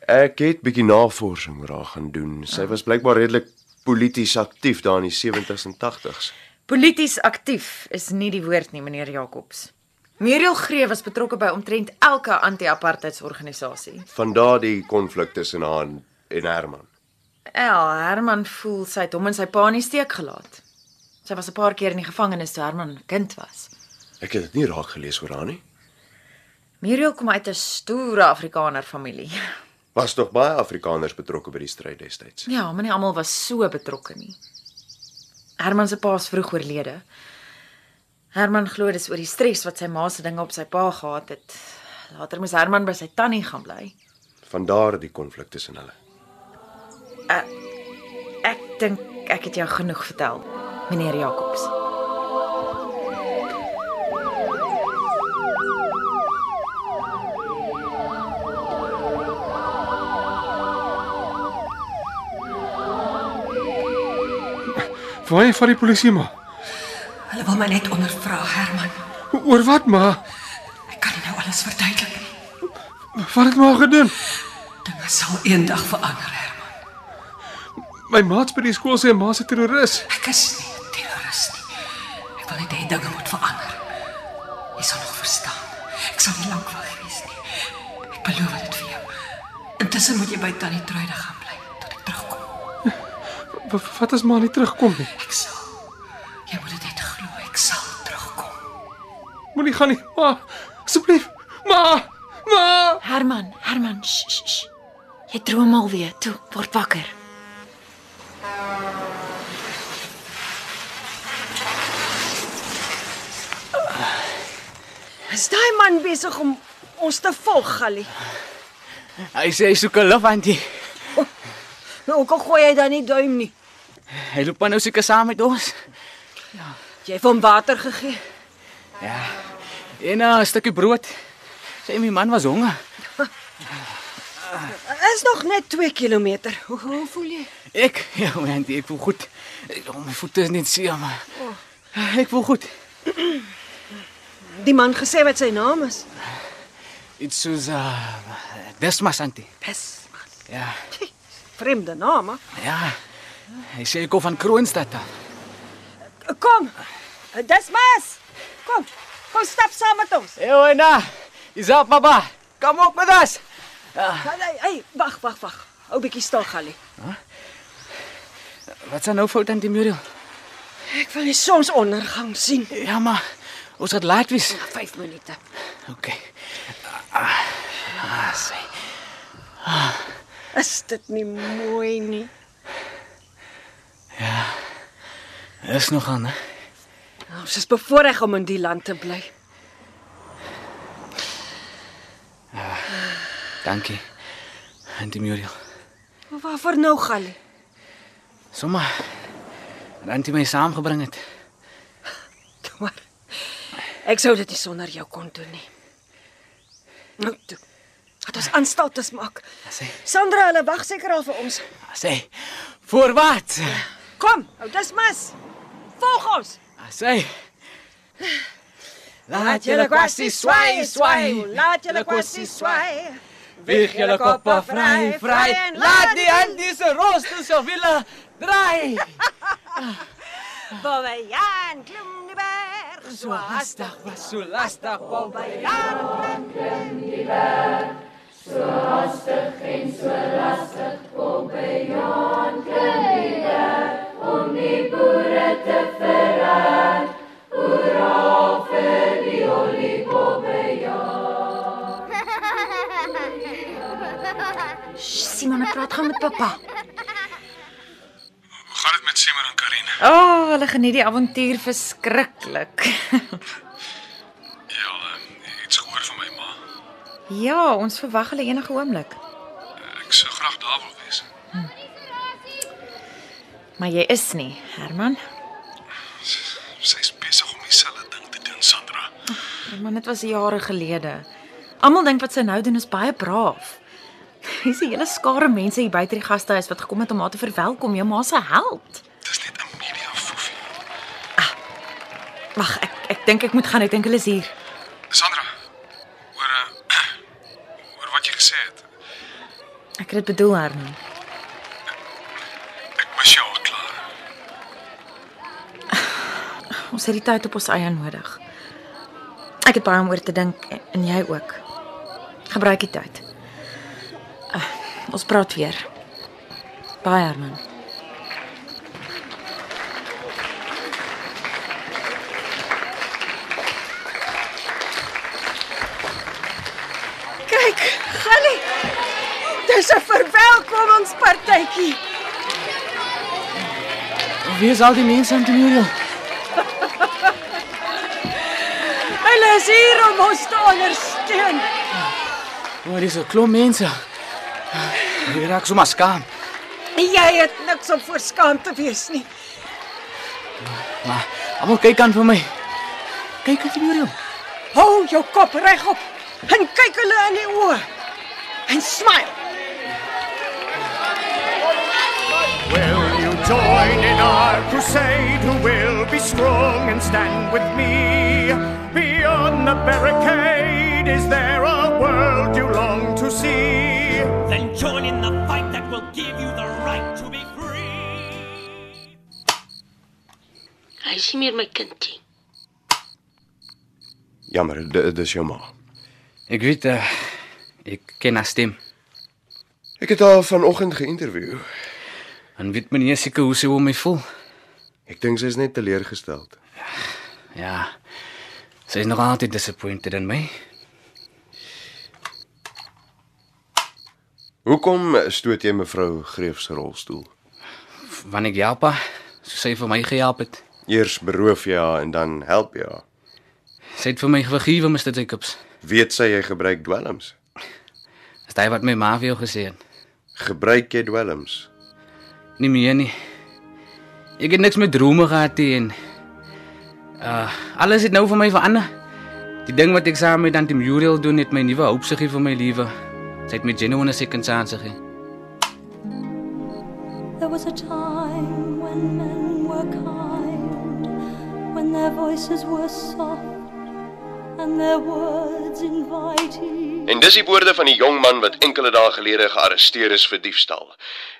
Speaker 8: Ek het bietjie navorsing oor haar gaan doen. Sy was blykbaar redelik polities aktief daar in die 70s en 80s.
Speaker 4: Polities aktief is nie die woord nie, meneer Jacobs. Muriel Gree was betrokke by omtrent elke anti-apartheidsorganisasie.
Speaker 8: Van daardie konflik tussen haar en- en Herman.
Speaker 4: Ja, Herman voel sy het hom en sy pa in die steek gelaat. Sy was 'n paar keer in die gevangenis toe Herman 'n kind was.
Speaker 8: Ek het dit nie raak gelees oor haar nie.
Speaker 4: Muriel kom uit 'n stoere Afrikaner familie.
Speaker 8: Was tog baie Afrikaners betrokke by die stryd destyds.
Speaker 4: Ja, maar nie almal was so betrokke nie. Herman se pa is vroeg oorlede. Herman glo dis oor die stres wat sy ma se dinge op sy pa gehad het. Later moes Herman by sy tannie gaan bly.
Speaker 8: Van daardie konflik tussen hulle.
Speaker 4: Uh, ek dink ek het jou genoeg vertel, meneer Jacobs.
Speaker 3: Waar jy van die polisie maar?
Speaker 12: Hulle wil my net ondervra, Herman.
Speaker 3: Oor wat maar?
Speaker 12: Ek kan nie nou alles verduidelik nie.
Speaker 3: Wat het maar gedoen?
Speaker 12: Dinge sal eendag verander, Herman.
Speaker 3: My maats by die skool sê ma se terroris.
Speaker 12: Ek is nie 'n terroris nie. Ek wil net hê dinge moet verander. Jy sal nog verstaan. Ek sal nie lank wag wees nie. Ek beloof dit vir jou. Intussen moet jy by Tannie Truida gaan bly tot ek terugkom.
Speaker 3: W- w- Wat as ma nie terugkom nie?
Speaker 12: Ek sal. Jy moet dit net glo, ek sal terugkom.
Speaker 3: Moenie gaan nie, ma. Asseblief.
Speaker 7: Ma! Ma! Herman, Herman, sh, sh, sh. Jy droom alweer. Toe, word wakker.
Speaker 9: Is daai man besig om ons te volg, Gallie?
Speaker 6: Hy sê hy soek 'n lof antie.
Speaker 9: Nou hoekom gooi jy dan nie duim nie?
Speaker 6: Hy loop maar nou seker saam met ons.
Speaker 9: Jy het hom water gegee.
Speaker 6: Ja. En uh, 'n stukkie brood. Sê my man was honger.
Speaker 9: Is nog net 2 km. Hoe, hoe voel jy?
Speaker 6: Ek, ja, my antie, ek voel goed. Ek, oh, my voete is net seer, maar ek voel goed.
Speaker 9: die man gesê wat sy naam is?
Speaker 6: It's Susa. Dis maar Santi.
Speaker 9: Dis.
Speaker 6: eh, Ja,
Speaker 9: Vreemde naam. hè?
Speaker 6: ja. Hy sê ek kom van Kroonstad af.
Speaker 9: Kom. Dis mas. Kom. Kom stap saam met ons.
Speaker 6: Ewena. nou. Is op baba. Kom op met ons.
Speaker 9: Hey, hey, wag, wag, wag. Ou bietjie stil, Gally.
Speaker 6: Wat s'n nou fout aan die muur?
Speaker 9: Ek wil die sonsondergang sien.
Speaker 6: Ja, maar ons het laat wees.
Speaker 9: 5 minute.
Speaker 6: OK. Ah, ah, sê.
Speaker 9: Is dit nie mooi nie?
Speaker 6: Dis nog aan, hè?
Speaker 9: Ons is Nou, bevoorreg om in die land te bly.
Speaker 6: Dankie. Aan die muur.
Speaker 9: Maar waarvoor nou, Gally?
Speaker 6: Sommer. Dan het jy my saamgebring het.
Speaker 9: Maar ek sou dit nie sonder jou kon doen nie. Nou toe. Het ons aanstaltes maak.
Speaker 6: Sê,
Speaker 9: Sandra, hulle wag seker al vir ons.
Speaker 6: sê. Voor wat?
Speaker 9: Kom, ou dis mas. Volg ons.
Speaker 6: Sê. Laat
Speaker 9: julle
Speaker 6: julle kwassie swai, swai.
Speaker 9: Laat julle kwassie swai.
Speaker 6: Weeg julle koppe vry, vry. Laat die hande se rooster se wille draai.
Speaker 9: Bobbejaan klim die berg.
Speaker 6: So hastig, was so lastig, Bob.
Speaker 4: Simon, ek praat gaan met pappa.
Speaker 3: Hoe gaan dit met Simon en Karin?
Speaker 4: O, oh, hulle geniet die avontuur verskriklik.
Speaker 3: Ja, uh, iets gehoor van my ma.
Speaker 4: ja, ons verwag hulle enige oomblik.
Speaker 3: Ek sou graag daar wil wees.
Speaker 4: Maar jy is nie, Herman.
Speaker 3: Sy's besig om dieselfde ding te doen, Sandra.
Speaker 4: Maar dit was jare gelede. Almal dink wat sy nou doen is baie braaf. Hier's 'n hele skare mense hier buite die gastehuis wat gekom het om haar te verwelkom, jou ma se held.
Speaker 3: Dis net 'n media foefie.
Speaker 4: Wag, ek ek dink ek moet gaan, ek dink hulle is hier.
Speaker 3: Sandra, hoor uh,
Speaker 13: eh,
Speaker 3: hoor wat jy gesê het.
Speaker 4: Ek het dit bedoel, Herman.
Speaker 3: Ek mis jou al klaar.
Speaker 4: Ons het die tyd op ons eie nodig. Ek het baie om oor te dink en- en jy ook. Gebruik die tyd. Uh, ons praat weer. Baie, Herman.
Speaker 9: Kyk, Gally. Dis 'n verwelkomingspartytjie.
Speaker 6: Wie is al die mense aan die muur?
Speaker 9: Hulle is hier om ons te ondersteun.
Speaker 6: Waar is 'n klomp mense? Hier raak sommer skaam.
Speaker 9: Jy het niks om voor skaam te wees nie.
Speaker 6: Maar almal kyk aan vir my. Kyk aan die muur.
Speaker 9: Hou jou kop regop en kyk hulle in die oë. En smile.
Speaker 14: Will you join in our crusade? Who will be strong and stand with me? Beyond the barricade, is there a world you long to see?
Speaker 15: Then join in the fight that will give you the right to be free.
Speaker 7: Hy is nie meer my kindjie.
Speaker 8: Jammer, di- dis jou ma.
Speaker 6: Ek weet uh, ek ken haar stem.
Speaker 8: Ek het haar vanoggend geïnterview.
Speaker 6: En weet meneer seker hoe sy oor my voel.
Speaker 8: Ek dink sy is net teleurgesteld.
Speaker 6: Ja. Sy is nog altyd disappointed in my.
Speaker 8: Hoekom stoot jy mevrou Greef se rolstoel?
Speaker 6: Wanneer ek help haar, so sy vir my gehelp het.
Speaker 8: Eers beroof jy haar en dan help jy haar.
Speaker 6: Sy het vir my vergewe, Mr. Jacobs.
Speaker 8: Weet sy jy gebruik dwelms?
Speaker 6: Is dit wat my ma vir jou gesê het?
Speaker 8: Gebruik jy dwelms?
Speaker 6: Nie meer nie. Ek het niks met drome gehad nie en uh alles het nou vir my verander. Die ding wat ek saam met Auntie Muriel doen het my nuwe hoop gegee vir my lewe. Sy het my genuine second chance gegee.
Speaker 2: There was a time when men were kind, when their voices were soft and their words inviting.
Speaker 8: En dis die woorde van die jong man wat enkele dae gelede gearresteer is vir diefstal.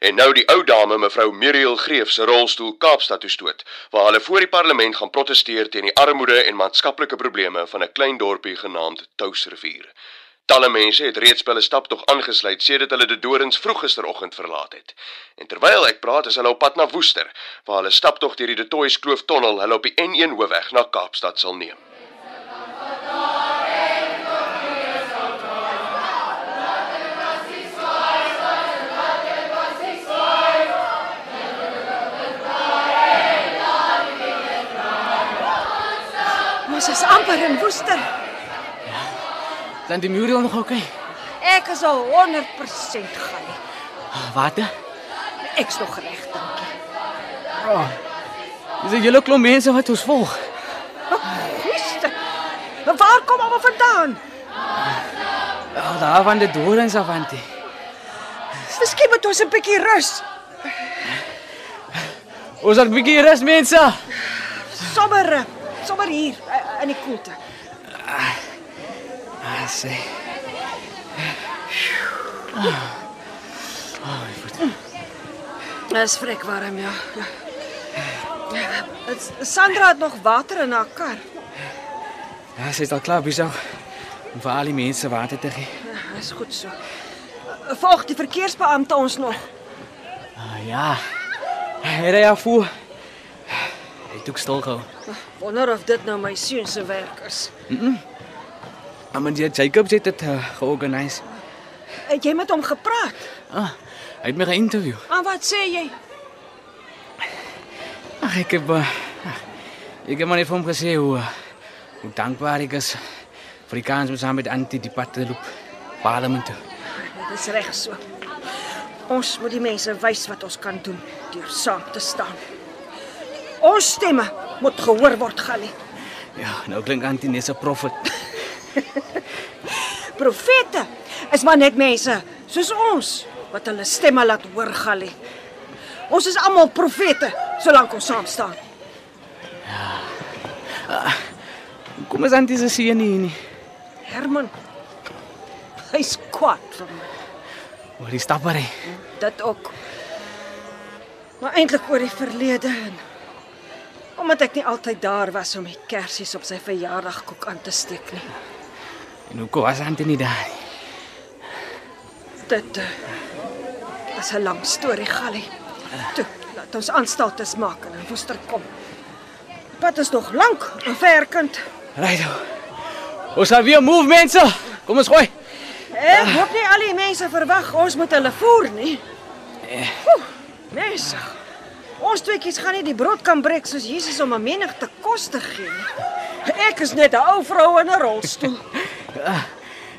Speaker 8: En nou die ou dame mevrou Muriel Greef se rolstoel Kaapstad toe stoot, waar hulle voor die parlement gaan proteseer teen die armoede en maatskaplike probleme van 'n klein dorpie genaamd Touwsrivier. Talle mense het reeds by hulle stap tog aangesluit sedert hulle die dorings vroeg gisteroggend verlaat het. En terwyl ek praat, is hulle op pad na Woester, waar hulle stap tog deur die De Tooi Kloof tonnel hulle op die N1 hoofweg na Kaapstad sal neem.
Speaker 9: Ons is amper in Woester.
Speaker 6: Dan die Muriel nog oké.
Speaker 9: Ek is al 100% gaan.
Speaker 6: Water.
Speaker 9: Ek's nog reg, dankie.
Speaker 6: Oh. Dis 'n hele klomp mense wat ons volg.
Speaker 9: Gister. Waar kom almal vandaan?
Speaker 6: Oh, daar van die dorings af antie.
Speaker 9: Miskien moet ons 'n bietjie rus.
Speaker 6: Ons het 'n bietjie rus mense.
Speaker 9: Sommer, eh, sommer hier eh, in die koelte.
Speaker 6: Ah, sê.
Speaker 9: Dis vrek warm, ja. Het- Sandra het nog water in haar kar.
Speaker 6: Ja, sy is al klaar besig om vir al die mense water te gee.
Speaker 9: Ja, Dis goed so. Volg die verkeersbeampte ons nog.
Speaker 6: Ah, ja. Er Hy ry af voor. Hy het ook stil gehou.
Speaker 9: Wonder of dit nou my seun se werk is.
Speaker 6: Mhm. Mm Amanda Jacobs het dit uh, georganiseer.
Speaker 9: Het Eh, jy met hom gepraat?
Speaker 6: Ah, hy het my geïnterview.
Speaker 9: Aan wat sê jy?
Speaker 6: Ag ek heb uh, ek het maar net vir hom gesê hoe uh, hoe dankbaar ek is vir die kans om saam met Antie die pad te loop parlement toe.
Speaker 9: Dit is reg so. Ons moet die mense wys wat ons kan doen deur saam te staan. Ons stemme moet gehoor word, Gally.
Speaker 6: Ja, nou klink Antie net so profet.
Speaker 9: Profete is maar net mense soos ons wat hulle stemme laat hoor, Gally. Ons is almal profete solank ons saam staan.
Speaker 6: Kom ons Antie se seun hier nie.
Speaker 9: Herman, hy's kwaad vir my.
Speaker 6: Oor die stappery.
Speaker 9: Dit ook. Maar eintlik oor die verlede en omdat ek nie altyd daar was om die kersies op sy verjaardagkoek aan te steek nie.
Speaker 6: En hoekom was Antie nie daar nie?
Speaker 9: Dit eh, is 'n lang storie, Gally. Toe, laat ons aanstaltes maak en in Woester kom. Die Pad is nog lank en verkend.
Speaker 6: Rydo. Ons gaan weer move mense. Kom ons gooi.
Speaker 9: Ek hoop nie Eh, al die mense verwag ons moet hulle voer nie. Oeh, Mense. Ons tweeetjies gaan nie die brood kan breek soos Jesus om 'n menigte kos te gee nie. Ek is net 'n ou vrou in 'n rolstoel.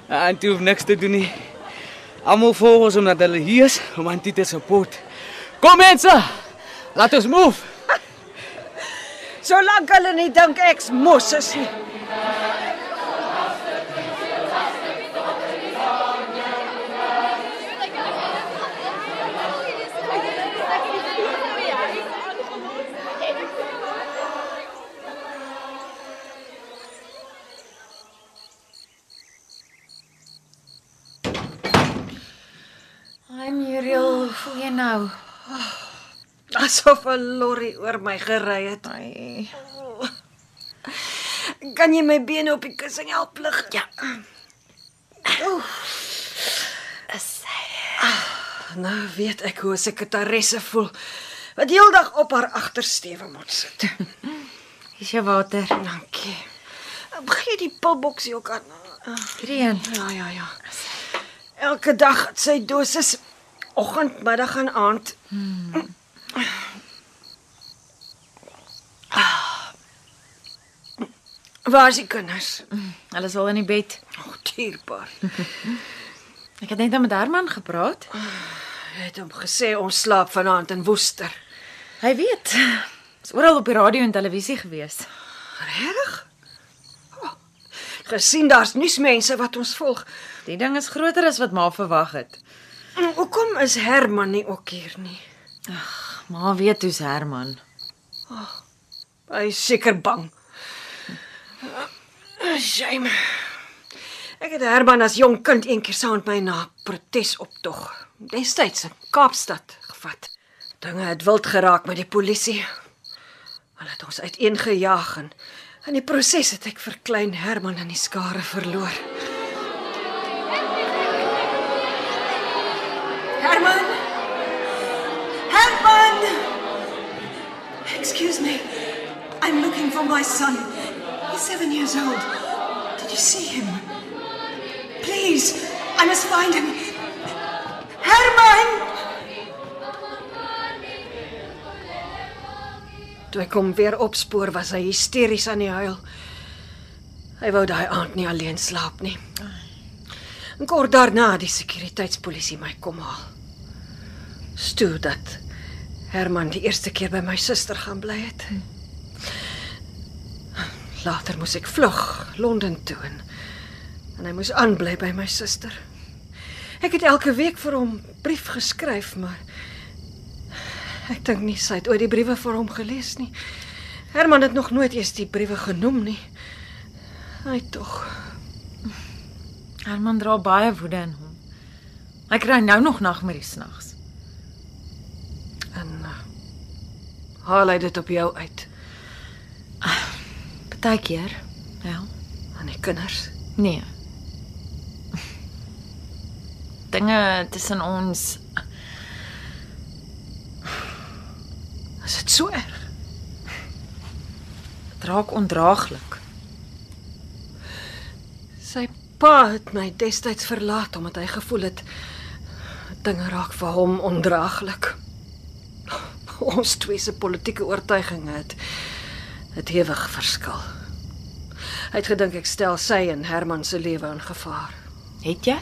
Speaker 6: Ah, Antie hoef niks te doen nie. Almal volg ons omdat hulle hier is om Antie te support. Kom mense. Laat ons move.
Speaker 9: Solank hulle nie dink ek's mos is nie.
Speaker 4: Ai Muriel, hoe voel jy nou?
Speaker 9: Asof 'n lorry oor my gery het. Oh.
Speaker 4: Ai.
Speaker 9: Kan jy my bene op die kussing help lig? Ja.
Speaker 4: Is
Speaker 9: Nou weet ek hoe 'n sekretaresse voel wat heeldag op haar agtersteuwe moet sit.
Speaker 4: Is jou water?
Speaker 9: Dankie. Gee die pilboksie ook aan.
Speaker 4: Hierdie een?
Speaker 9: Ja, ja, ja. Elke dag het sy dosis oggend, middag en aand.
Speaker 4: Hmm.
Speaker 9: Waar is die kinders?
Speaker 4: Hulle is al in die bed.
Speaker 9: Oh, dierbaar.
Speaker 4: Ek het net nou met Herman gepraat.
Speaker 9: Hy het hom gesê ons slaap vanaand in Woester.
Speaker 4: Hy weet. Is oral op die radio en televisie gewees.
Speaker 9: Regtig? Oh, Gesien daar's nuusmense wat ons volg.
Speaker 4: Die ding is groter as wat ma verwag het.
Speaker 9: Hm, Hoekom is Herman nie ook hier nie?
Speaker 4: Ma weet hoe's Herman.
Speaker 9: Hy is seker bang. Shame. Ek het Herman as jong kind een keer saam met my na 'n protesoptog destyds in Kaapstad gevat. Dinge het wild geraak met die polisie. Hulle het ons uiteengejaag en in die proses het ek vir klein Herman in die skare verloor.
Speaker 12: Herman! Herman! Excuse me. I'm looking for my son. He's seven years old. Did you see him? Please, I must find him. Herman!
Speaker 9: Toe ek hom weer opspoor was hy hysteries aan die huil. Hy wou daai aand nie alleen slaap nie. En kort daarna het die sekuriteitspolisie my kom haal. Stoor dat Herman die eerste keer by my suster gaan bly het. Later moes ek vlug Londen toe en, en hy moes aanbly by my suster. Ek het elke week vir hom brief geskryf, maar ek dink nie sy het ooit die briewe vir hom gelees nie. Herman het nog nooit eens die briewe genoem nie. Hy tog.
Speaker 4: Herman dra baie woede in hom. Hy kry nou nog nagmerries snags.
Speaker 9: En uh, haal hy dit op jou uit?
Speaker 4: Partykeer, ja,
Speaker 9: aan die kinders.
Speaker 4: Nee. Dinge tussen ons.
Speaker 9: Is dit so erg?
Speaker 4: Dit raak ondraaglik.
Speaker 9: Sy pa het my destyds verlaat omdat hy gevoel het dinge raak vir hom ondraaglik. Ons twee se politieke oortuigings het het ewig verskil. Hy het gedink ek stel sy en Herman se lewe in gevaar.
Speaker 4: Het jy?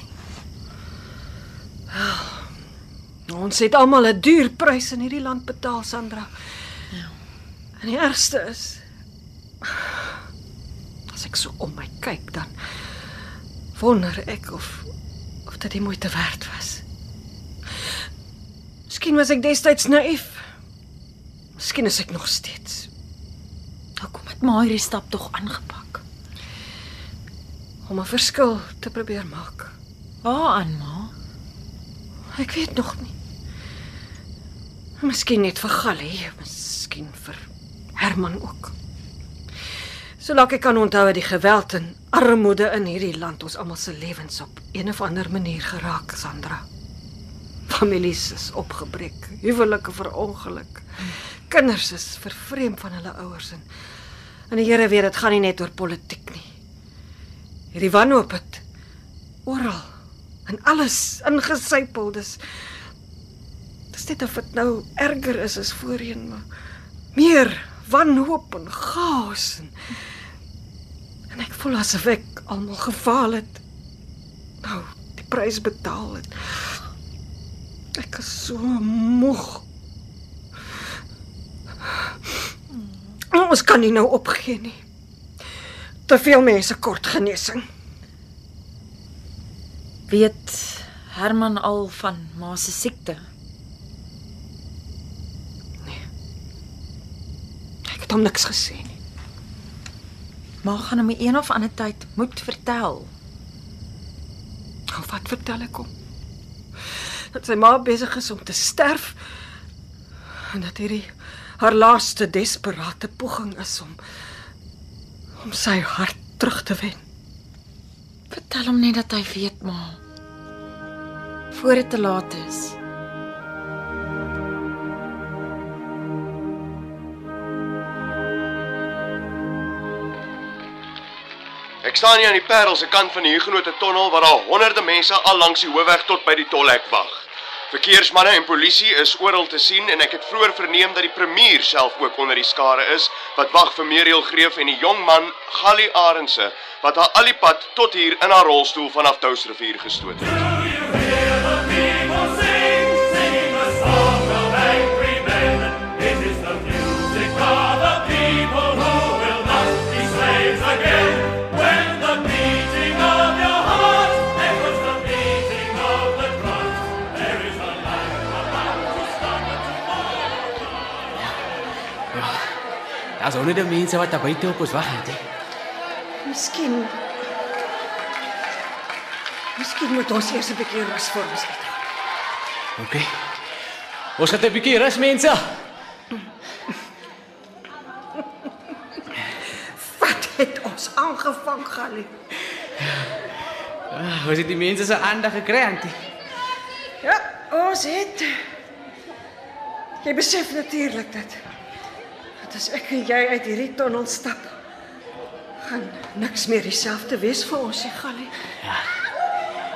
Speaker 9: Ons het almal 'n duur prys in hierdie land betaal, Sandra. En die ergste is as ek so om my kyk dan wonder ek of of dit die moeite werd was. Miskien was ek destyds naïef. Miskien is ek nog steeds.
Speaker 4: Hoekom het maar hierdie stap tog aangepak?
Speaker 9: Om 'n verskil te probeer maak.
Speaker 4: Waaraan ma?
Speaker 9: Ek weet nog nie. Miskien net vir Gallie, miskien vir Herman ook. Solank ek kan onthou dat die geweld en armoede in hierdie land ons almal se lewens op een of ander manier geraak, Sandra. Families is opgebreek, huwelike verongeluk. Kinders is vervreem van hulle ouers en en die Here weet dit gaan nie net oor politiek nie. Hierdie wanhoop het oral en alles ingesypel. Dis dis net of dit nou erger is as voorheen, maar meer wanhoop en chaos en en ek voel asof ek almal gefaal het. Nou, die prys betaal het. Ek is so moeg. Ons kan nie nou opgee nie. Te veel mense kort genesing.
Speaker 4: Weet Herman al van ma se siekte?
Speaker 9: Ek het hom niks gesê nie.
Speaker 4: Ma gaan hom een of ander tyd moet vertel.
Speaker 9: Nou wat vertel ek hom? Dat sy ma besig is om te sterf en dat hierdie haar laaste desperaatte poging is om om sy hart terug te wen.
Speaker 4: Vertel hom net dat hy weet ma. Voor dit te laat is.
Speaker 8: Ek staan hier aan die Parel se kant van die Huguenote tonnel waar al honderde mense al langs die hoofweg tot by die tolhek wag. Verkeersmanne en polisie is oral te sien en ek het vroeër verneem dat die premier self ook onder die skare is wat wag vir Muriel Greef en die jong man Gali Arendse wat haar al die pad tot hier in haar rolstoel vanaf Touwsrivier gestoot het.
Speaker 6: Daar's honderde mense wat daar buite op ons wag, hè.
Speaker 9: Miskien Miskien moet ons eers 'n bietjie rus vir ons hê.
Speaker 16: OK. Ons het 'n bietjie rus mense.
Speaker 9: Wat het ons aangevang, Galie?
Speaker 6: Ah, ons het die mense se aandag gekry, antie.
Speaker 9: Ja, ons het. Jy besef natuurlik dit. Dat as ek en jy uit hierdie tonnel stap, gaan niks meer dieselfde wees vir ons, nie, Galie.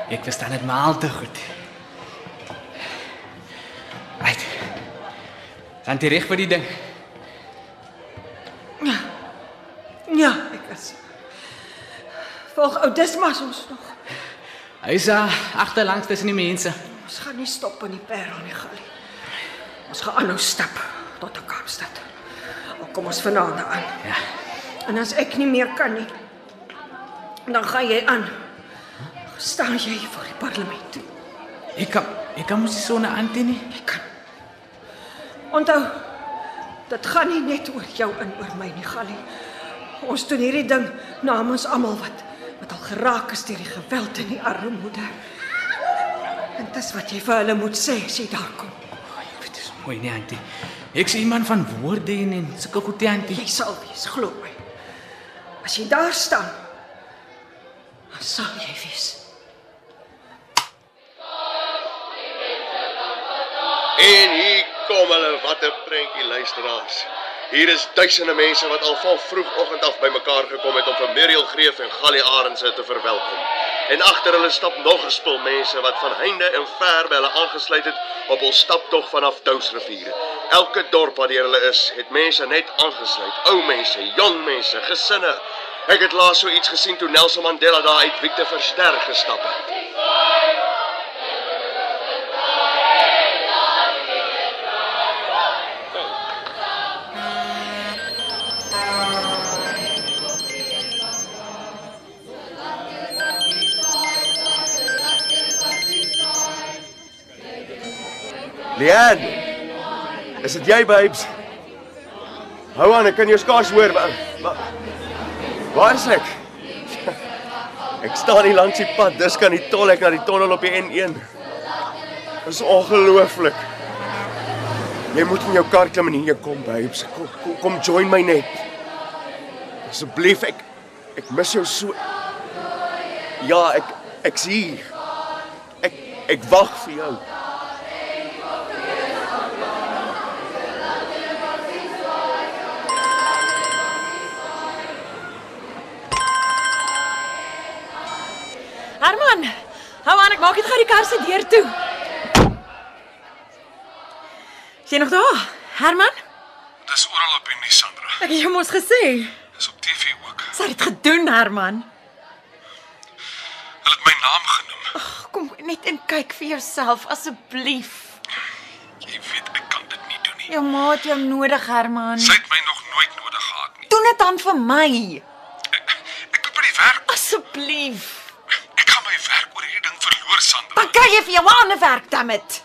Speaker 16: Ek verstaan dit maar al te goed. Right. Dan jy reg vir die ding.
Speaker 9: Ja. Ja, ek is. Volg ou Dismas ons nog.
Speaker 6: Hy's ah, agterlangs tussen die mense.
Speaker 9: Ons gaan nie stop in die Parel nie, Galie. Ons gaan aanhou stap tot aan Kaapstad. Al kom ons vanaand aan.
Speaker 6: Ja.
Speaker 9: En as ek nie meer kan nie, dan gaan jy aan. Staan jy voor die parlement.
Speaker 6: Ek kan ek kan mos nie so 'n antie nie.
Speaker 9: Ek kan. Onthou, dit gaan nie net oor jou en oor my nie, Galie. Ons doen hierdie ding namens almal wat wat al geraak is deur die geweld en die armoede. En dis wat jy vir hulle moet sê as jy daar kom.
Speaker 6: Mooi nie, antie. Ek sien iemand van woorde en en sulke goed, nie, antie.
Speaker 9: Jy sal wees, glo my. As jy daar staan, dan sal jy wees.
Speaker 8: En hier kom hulle, wat 'n prentjie luisteraars. Hier is duisende mense wat al van vroegoggend af bymekaar gekom het om vir Muriel Greef en Gali Arendse te verwelkom. En agter hulle stap nog 'n spul mense wat van heinde en ver by hulle aangesluit het op ons staptog vanaf Dousrivier. Elke dorp waar deur hulle is, het mense net aangesluit. Ou mense, jong mense, gesinne. Ek het laas so iets gesien toe Nelson Mandela daar uit Victor Verster gestap het. Leanne. Is dit jy, babes? Hou aan, ek kan jou skaars hoor. Wa, wa, waar is ek? Ek staan hier langs die pad. Dis kan die tol ek na die tonnel op die N1. Dis ongelooflik. Jy moet in jou kar klim en hier kom, babes. Kom, kom, kom join my net. Asseblief, ek ek mis jou so. Ja, ek ek's hier. Ek ek wag vir jou.
Speaker 4: Herman, hou aan, ek maak dit gou die kar se deur toe. Sien nog daar? Herman,
Speaker 13: Dis oral op die nuus, Sandra.
Speaker 4: ek het jou mos gesê.
Speaker 13: Dis op TV ook.
Speaker 4: Sy het dit gedoen, Herman.
Speaker 13: Hulle het my naam genoem.
Speaker 4: Ag, kom net en kyk vir jouself asseblief.
Speaker 13: Jy weet ek kan dit nie doen nie.
Speaker 4: Jou ma het jou nodig, Herman.
Speaker 13: Sy het my nog nooit nodig gehad nie.
Speaker 4: Doen dit dan vir my.
Speaker 13: Ek moet by die werk.
Speaker 4: Asseblief.
Speaker 13: Ek gaan my werk oor hierdie ding verloor, Sandra.
Speaker 4: Dan kry jy vir jou 'n ander werk, dammit.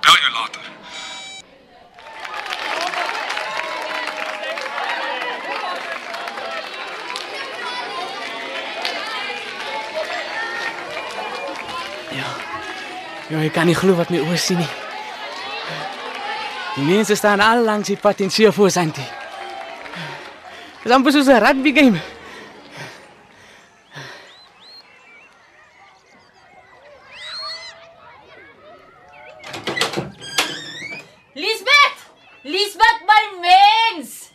Speaker 13: Bel jou later.
Speaker 6: Ja, ek kan nie glo wat my oë sien nie. Die mense staan al langs die pad en sien voor sy antie. Dis amper soos 'n rugby game.
Speaker 17: Lisbeth! Lisbeth, my mens!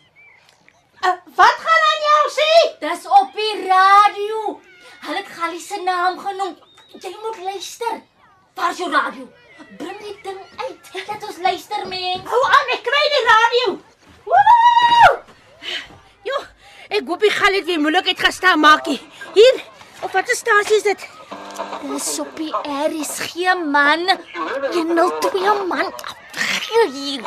Speaker 17: Uh, wat gaan aan jou sê? Dis op die radio. Hulle het Gally se naam genoem. Jy moet luister. Waar's jou radio? Bring die ding uit. Laat ons luister, mens. Hou aan, ek kry die radio.
Speaker 18: Woehoe! Jo, ek hoop die gal het weer moeilikheid gestaan maakie. Hier, op watter stasie is dit?
Speaker 17: Dis op die RSG man. 102 man. Gee hier.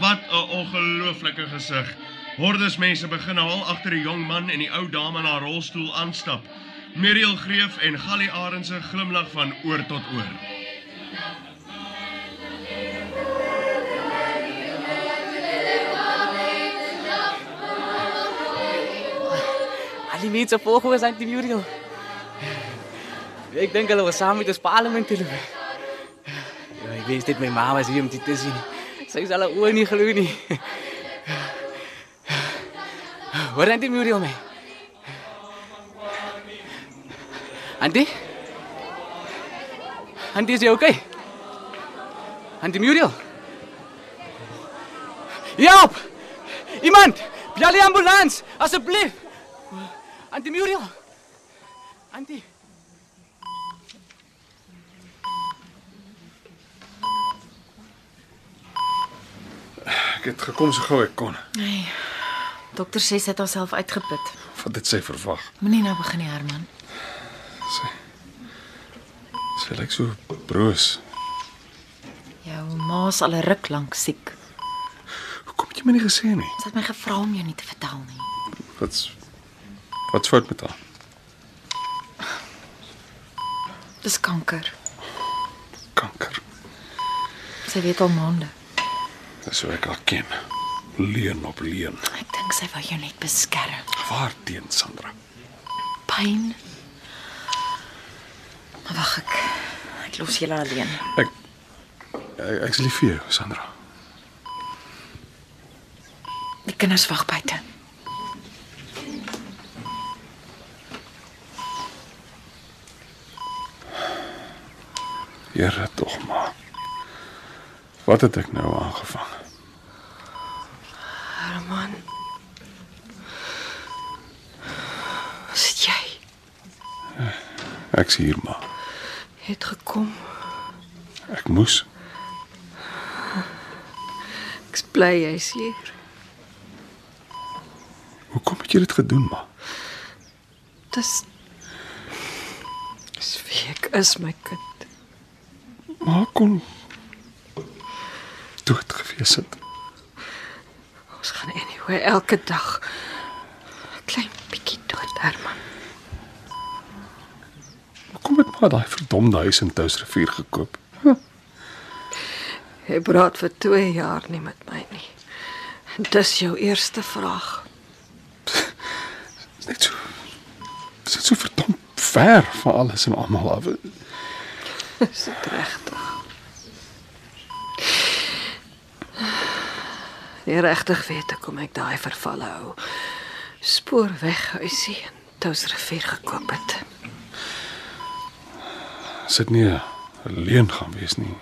Speaker 8: Wat 'n ongelooflike gesig. Hordes mense begin nou al agter die jong man en die ou dame in haar rolstoel aanstap. Muriel Greef en Gali Arendse glimlag van oor tot oor.
Speaker 16: mense volg ons aan die Muriel. Ek dink hulle was saam met ons parlement toe loop. Ja, ek weet net my ma was hier om dit te sien. Sy sal haar oë nie glo nie. Hoor aan die Muriel my. Antie? Antie is jy okay? Antie Muriel? Help! Iemand! Bel die ambulans asseblief. Antie Muriel. Antie.
Speaker 3: Ek het gekom so gou ek kon.
Speaker 4: Nee. Dokter sê sy het haarself uitgeput.
Speaker 3: Wat het sy verwag?
Speaker 4: Moenie nou begin nie, Herman.
Speaker 3: Sy Sy lyk so broos.
Speaker 4: Jou ma's al 'n ruk lank siek.
Speaker 3: Hoekom het jy my nie gesê nie?
Speaker 4: Sy het my gevra om jou nie te vertel nie.
Speaker 3: Wat's Wat's fout met haar?
Speaker 4: Dis kanker.
Speaker 3: Kanker.
Speaker 4: Sy weet al maande.
Speaker 3: Dis hoe ek haar ken. Leun op leun.
Speaker 4: Ek dink sy wou jou net beskerm.
Speaker 3: Waarteen, Sandra?
Speaker 4: Pyn. Maar wag ek. Ek los julle alleen.
Speaker 3: Ek ek- ek's lief vir jou, Sandra.
Speaker 4: Die kinders wag buite.
Speaker 3: Here tog maar. Wat het ek nou aangevang?
Speaker 9: Herman. Sit jy?
Speaker 3: Ek's hier maar.
Speaker 9: Jy Het gekom.
Speaker 3: Ek moes.
Speaker 9: Ek's bly jy's hier.
Speaker 3: Hoekom het jy dit gedoen, ma?
Speaker 9: Dis Dis wie ek is, my kind.
Speaker 3: Ma kon dood gewees het.
Speaker 9: Ons gaan anyway elke dag 'n klein bietjie dood, Herman.
Speaker 3: Hoekom het ma daai verdomde huis in Touwsrivier gekoop?
Speaker 9: Jy praat vir 2 jaar nie met my nie. En dis jou eerste vraag.
Speaker 3: Dis net so. Dis net so verdomd ver van alles en almal af.
Speaker 9: Is dit regtig? Jy regtig weet ek kom ek daai vervalle hou. Spoorweghuisie in Touwsrivier gekoop het.
Speaker 3: Sit nie 'n leuen gaan wees nie.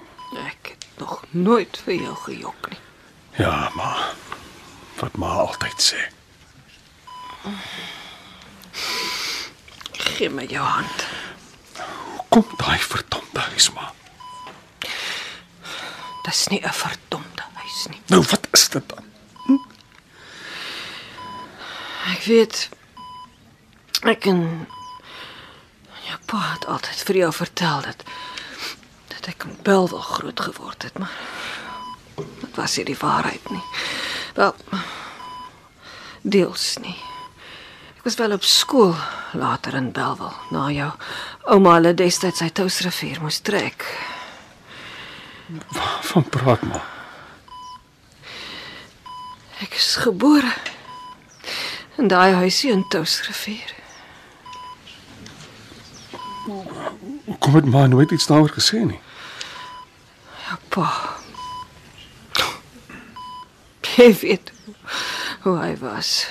Speaker 9: Ek het nog nooit vir jou gejok nie.
Speaker 3: Ja, ma. Wat ma altyd sê.
Speaker 9: Gee my jou hand.
Speaker 3: Kom daai verdomde huis maar.
Speaker 9: Dis nie 'n verdomde huis nie.
Speaker 3: Nou wat is dit dan?
Speaker 9: Ek weet ek en jou pa het altyd vir jou vertel dat dat ek in Belwel groot geword het, maar dit was nie die waarheid nie. Wel deels nie. Ek was wel op skool later in Belwel na jou ouma hulle destyds uit Touwsrivier moes trek.
Speaker 3: Van praat ma.
Speaker 9: Ek is gebore in daai huisie in Touwsrivier.
Speaker 3: Hoekom het ma nooit iets daaroor gesê nie?
Speaker 9: Pa. Jy weet hoe hy was.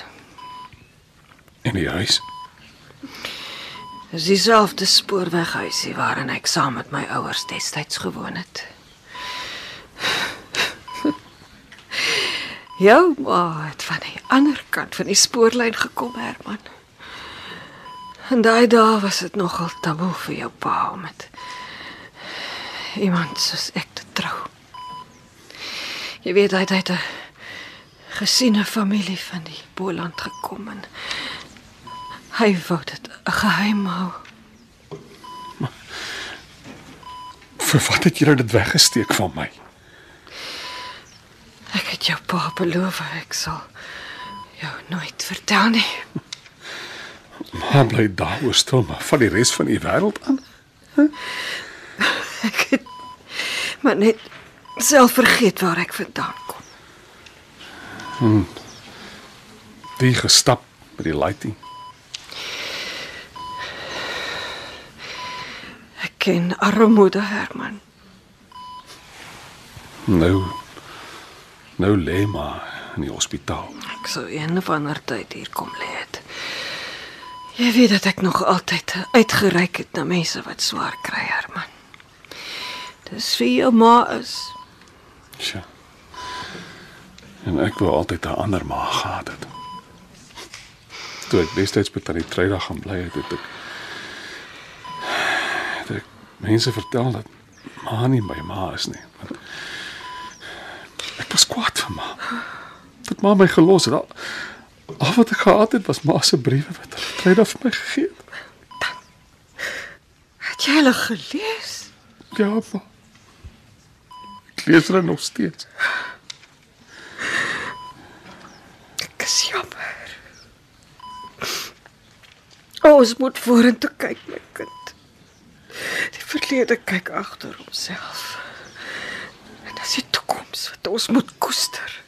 Speaker 3: In die huis.
Speaker 9: Dis dieselfde spoorweghuisie waarin ek saam met my ouers destyds gewoon het. Jou ma het van die ander kant van die spoorlyn gekom, Herman. En daai dae was dit nogal taboe vir jou pa om met iemand soos ek te trou. Jy weet hy het uit 'n gesiene familie van die Boland gekom en hy wou dit 'n geheim hou.
Speaker 3: Vir wat het julle dit weggesteek van my?
Speaker 9: Ek het jou pa beloof ek sal jou nooit vertel nie.
Speaker 3: Ma bly daaroor stil, maar van die res van die wêreld aan.
Speaker 9: Maar net self vergeet waar ek vandaan kom.
Speaker 3: Hmm. Die gestap by die lighting.
Speaker 9: ken armoede, Herman.
Speaker 3: Nou nou lê maar in die hospitaal.
Speaker 9: Ek sou een of ander tyd hier kom lê het. Jy weet dat ek nog altyd uitgereik het na mense wat swaar kry, Herman. Dis wie jou ma is.
Speaker 3: Tja. En ek wou altyd 'n ander ma gehad het. Toe ek destyds by tannie Treyda gaan bly het, het ek het ek mense vertel dat ma nie my ma is nie. Want ek was kwaad vir ma. Dat ma my gelos het. Al, al wat ek gehad het was ma se briewe wat tannie Treyda vir my gegee het.
Speaker 9: Het jy hulle gelees?
Speaker 3: Ja, ma. Ek lees hulle nog steeds.
Speaker 9: Ek is jammer. O, ons moet vorentoe kyk, my kind. Die verlede kyk agter homself. En dis die toekoms wat ons moet koester.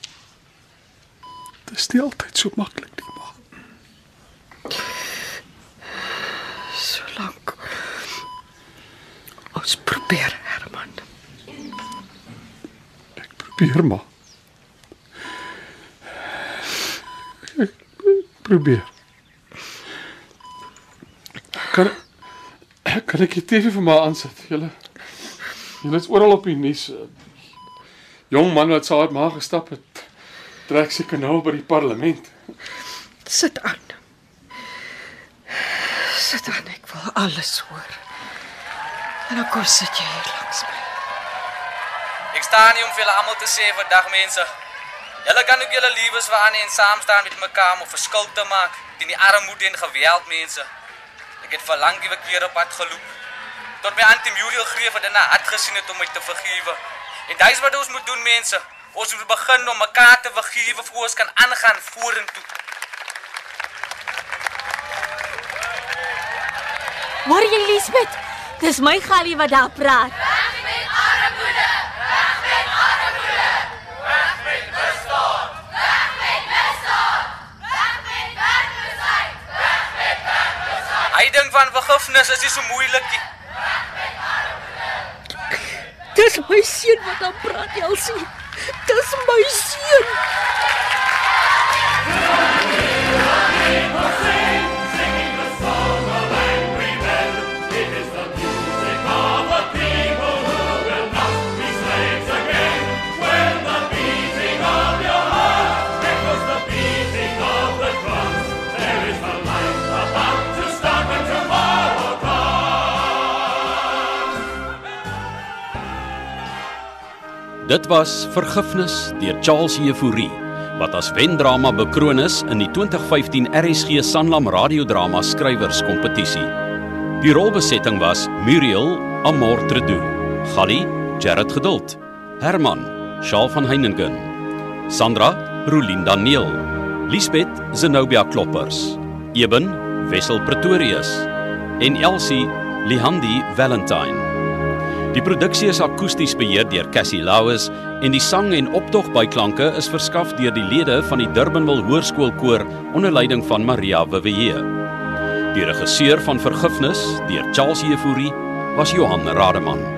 Speaker 3: Dit is nie altyd so maklik nie,
Speaker 9: ma. Solank ons probeer, Herman.
Speaker 3: Probeer maar. Ek probeer. Kan ek kan ek die TV vir my aansit? Julle Julle is oral op die nuus. Jong man wat saad maar gestap het, trek sy kanaal by die parlement.
Speaker 9: Sit aan. Sit aan, ek wil alles hoor. En dan kom sit jy hier langs my.
Speaker 6: Ek staan hier om vir julle almal te sê vandag mense. Julle kan ook julle liewes veraan en saam staan met mekaar om 'n verskil te maak teen die armoede en geweld mense. Ek het vir lank die keer op pad geloop tot my antie Muriel greef wat in haar hart gesien het om my te vergewe. En dis wat ons moet doen mense. Ons moet begin om mekaar te vergewe voor ons kan aangaan vorentoe.
Speaker 7: Hoor jy Lisbeth? Dis my galie wat daar praat.
Speaker 6: Hy dink van vergifnis is nie so moeilik nie.
Speaker 7: Dis my seun wat daar praat, Elsie. Dis my seun.
Speaker 1: Dit was Vergifnis deur Charles Euphorie wat as wendrama bekroon is in die 2015 RSG Sanlam radiodrama skrywerskompetisie. Die rolbesetting was Muriel Amortredu, Gali Gerard Geduld, Herman Shaal van Heiningen, Sandra Rolien Daniel, Lisbeth Zenobia Kloppers, Eben Wessel Pretorius en Elsie Lihandi Valentine. Die produksie is akoesties beheer deur Cassie Louws en die sang en optog byklanke is verskaf deur die lede van die Durbanville Hoërskoolkoor onder leiding van Maria Vivier. Die regisseur van Vergifnis deur Charles Euphorie was Johan Rademan.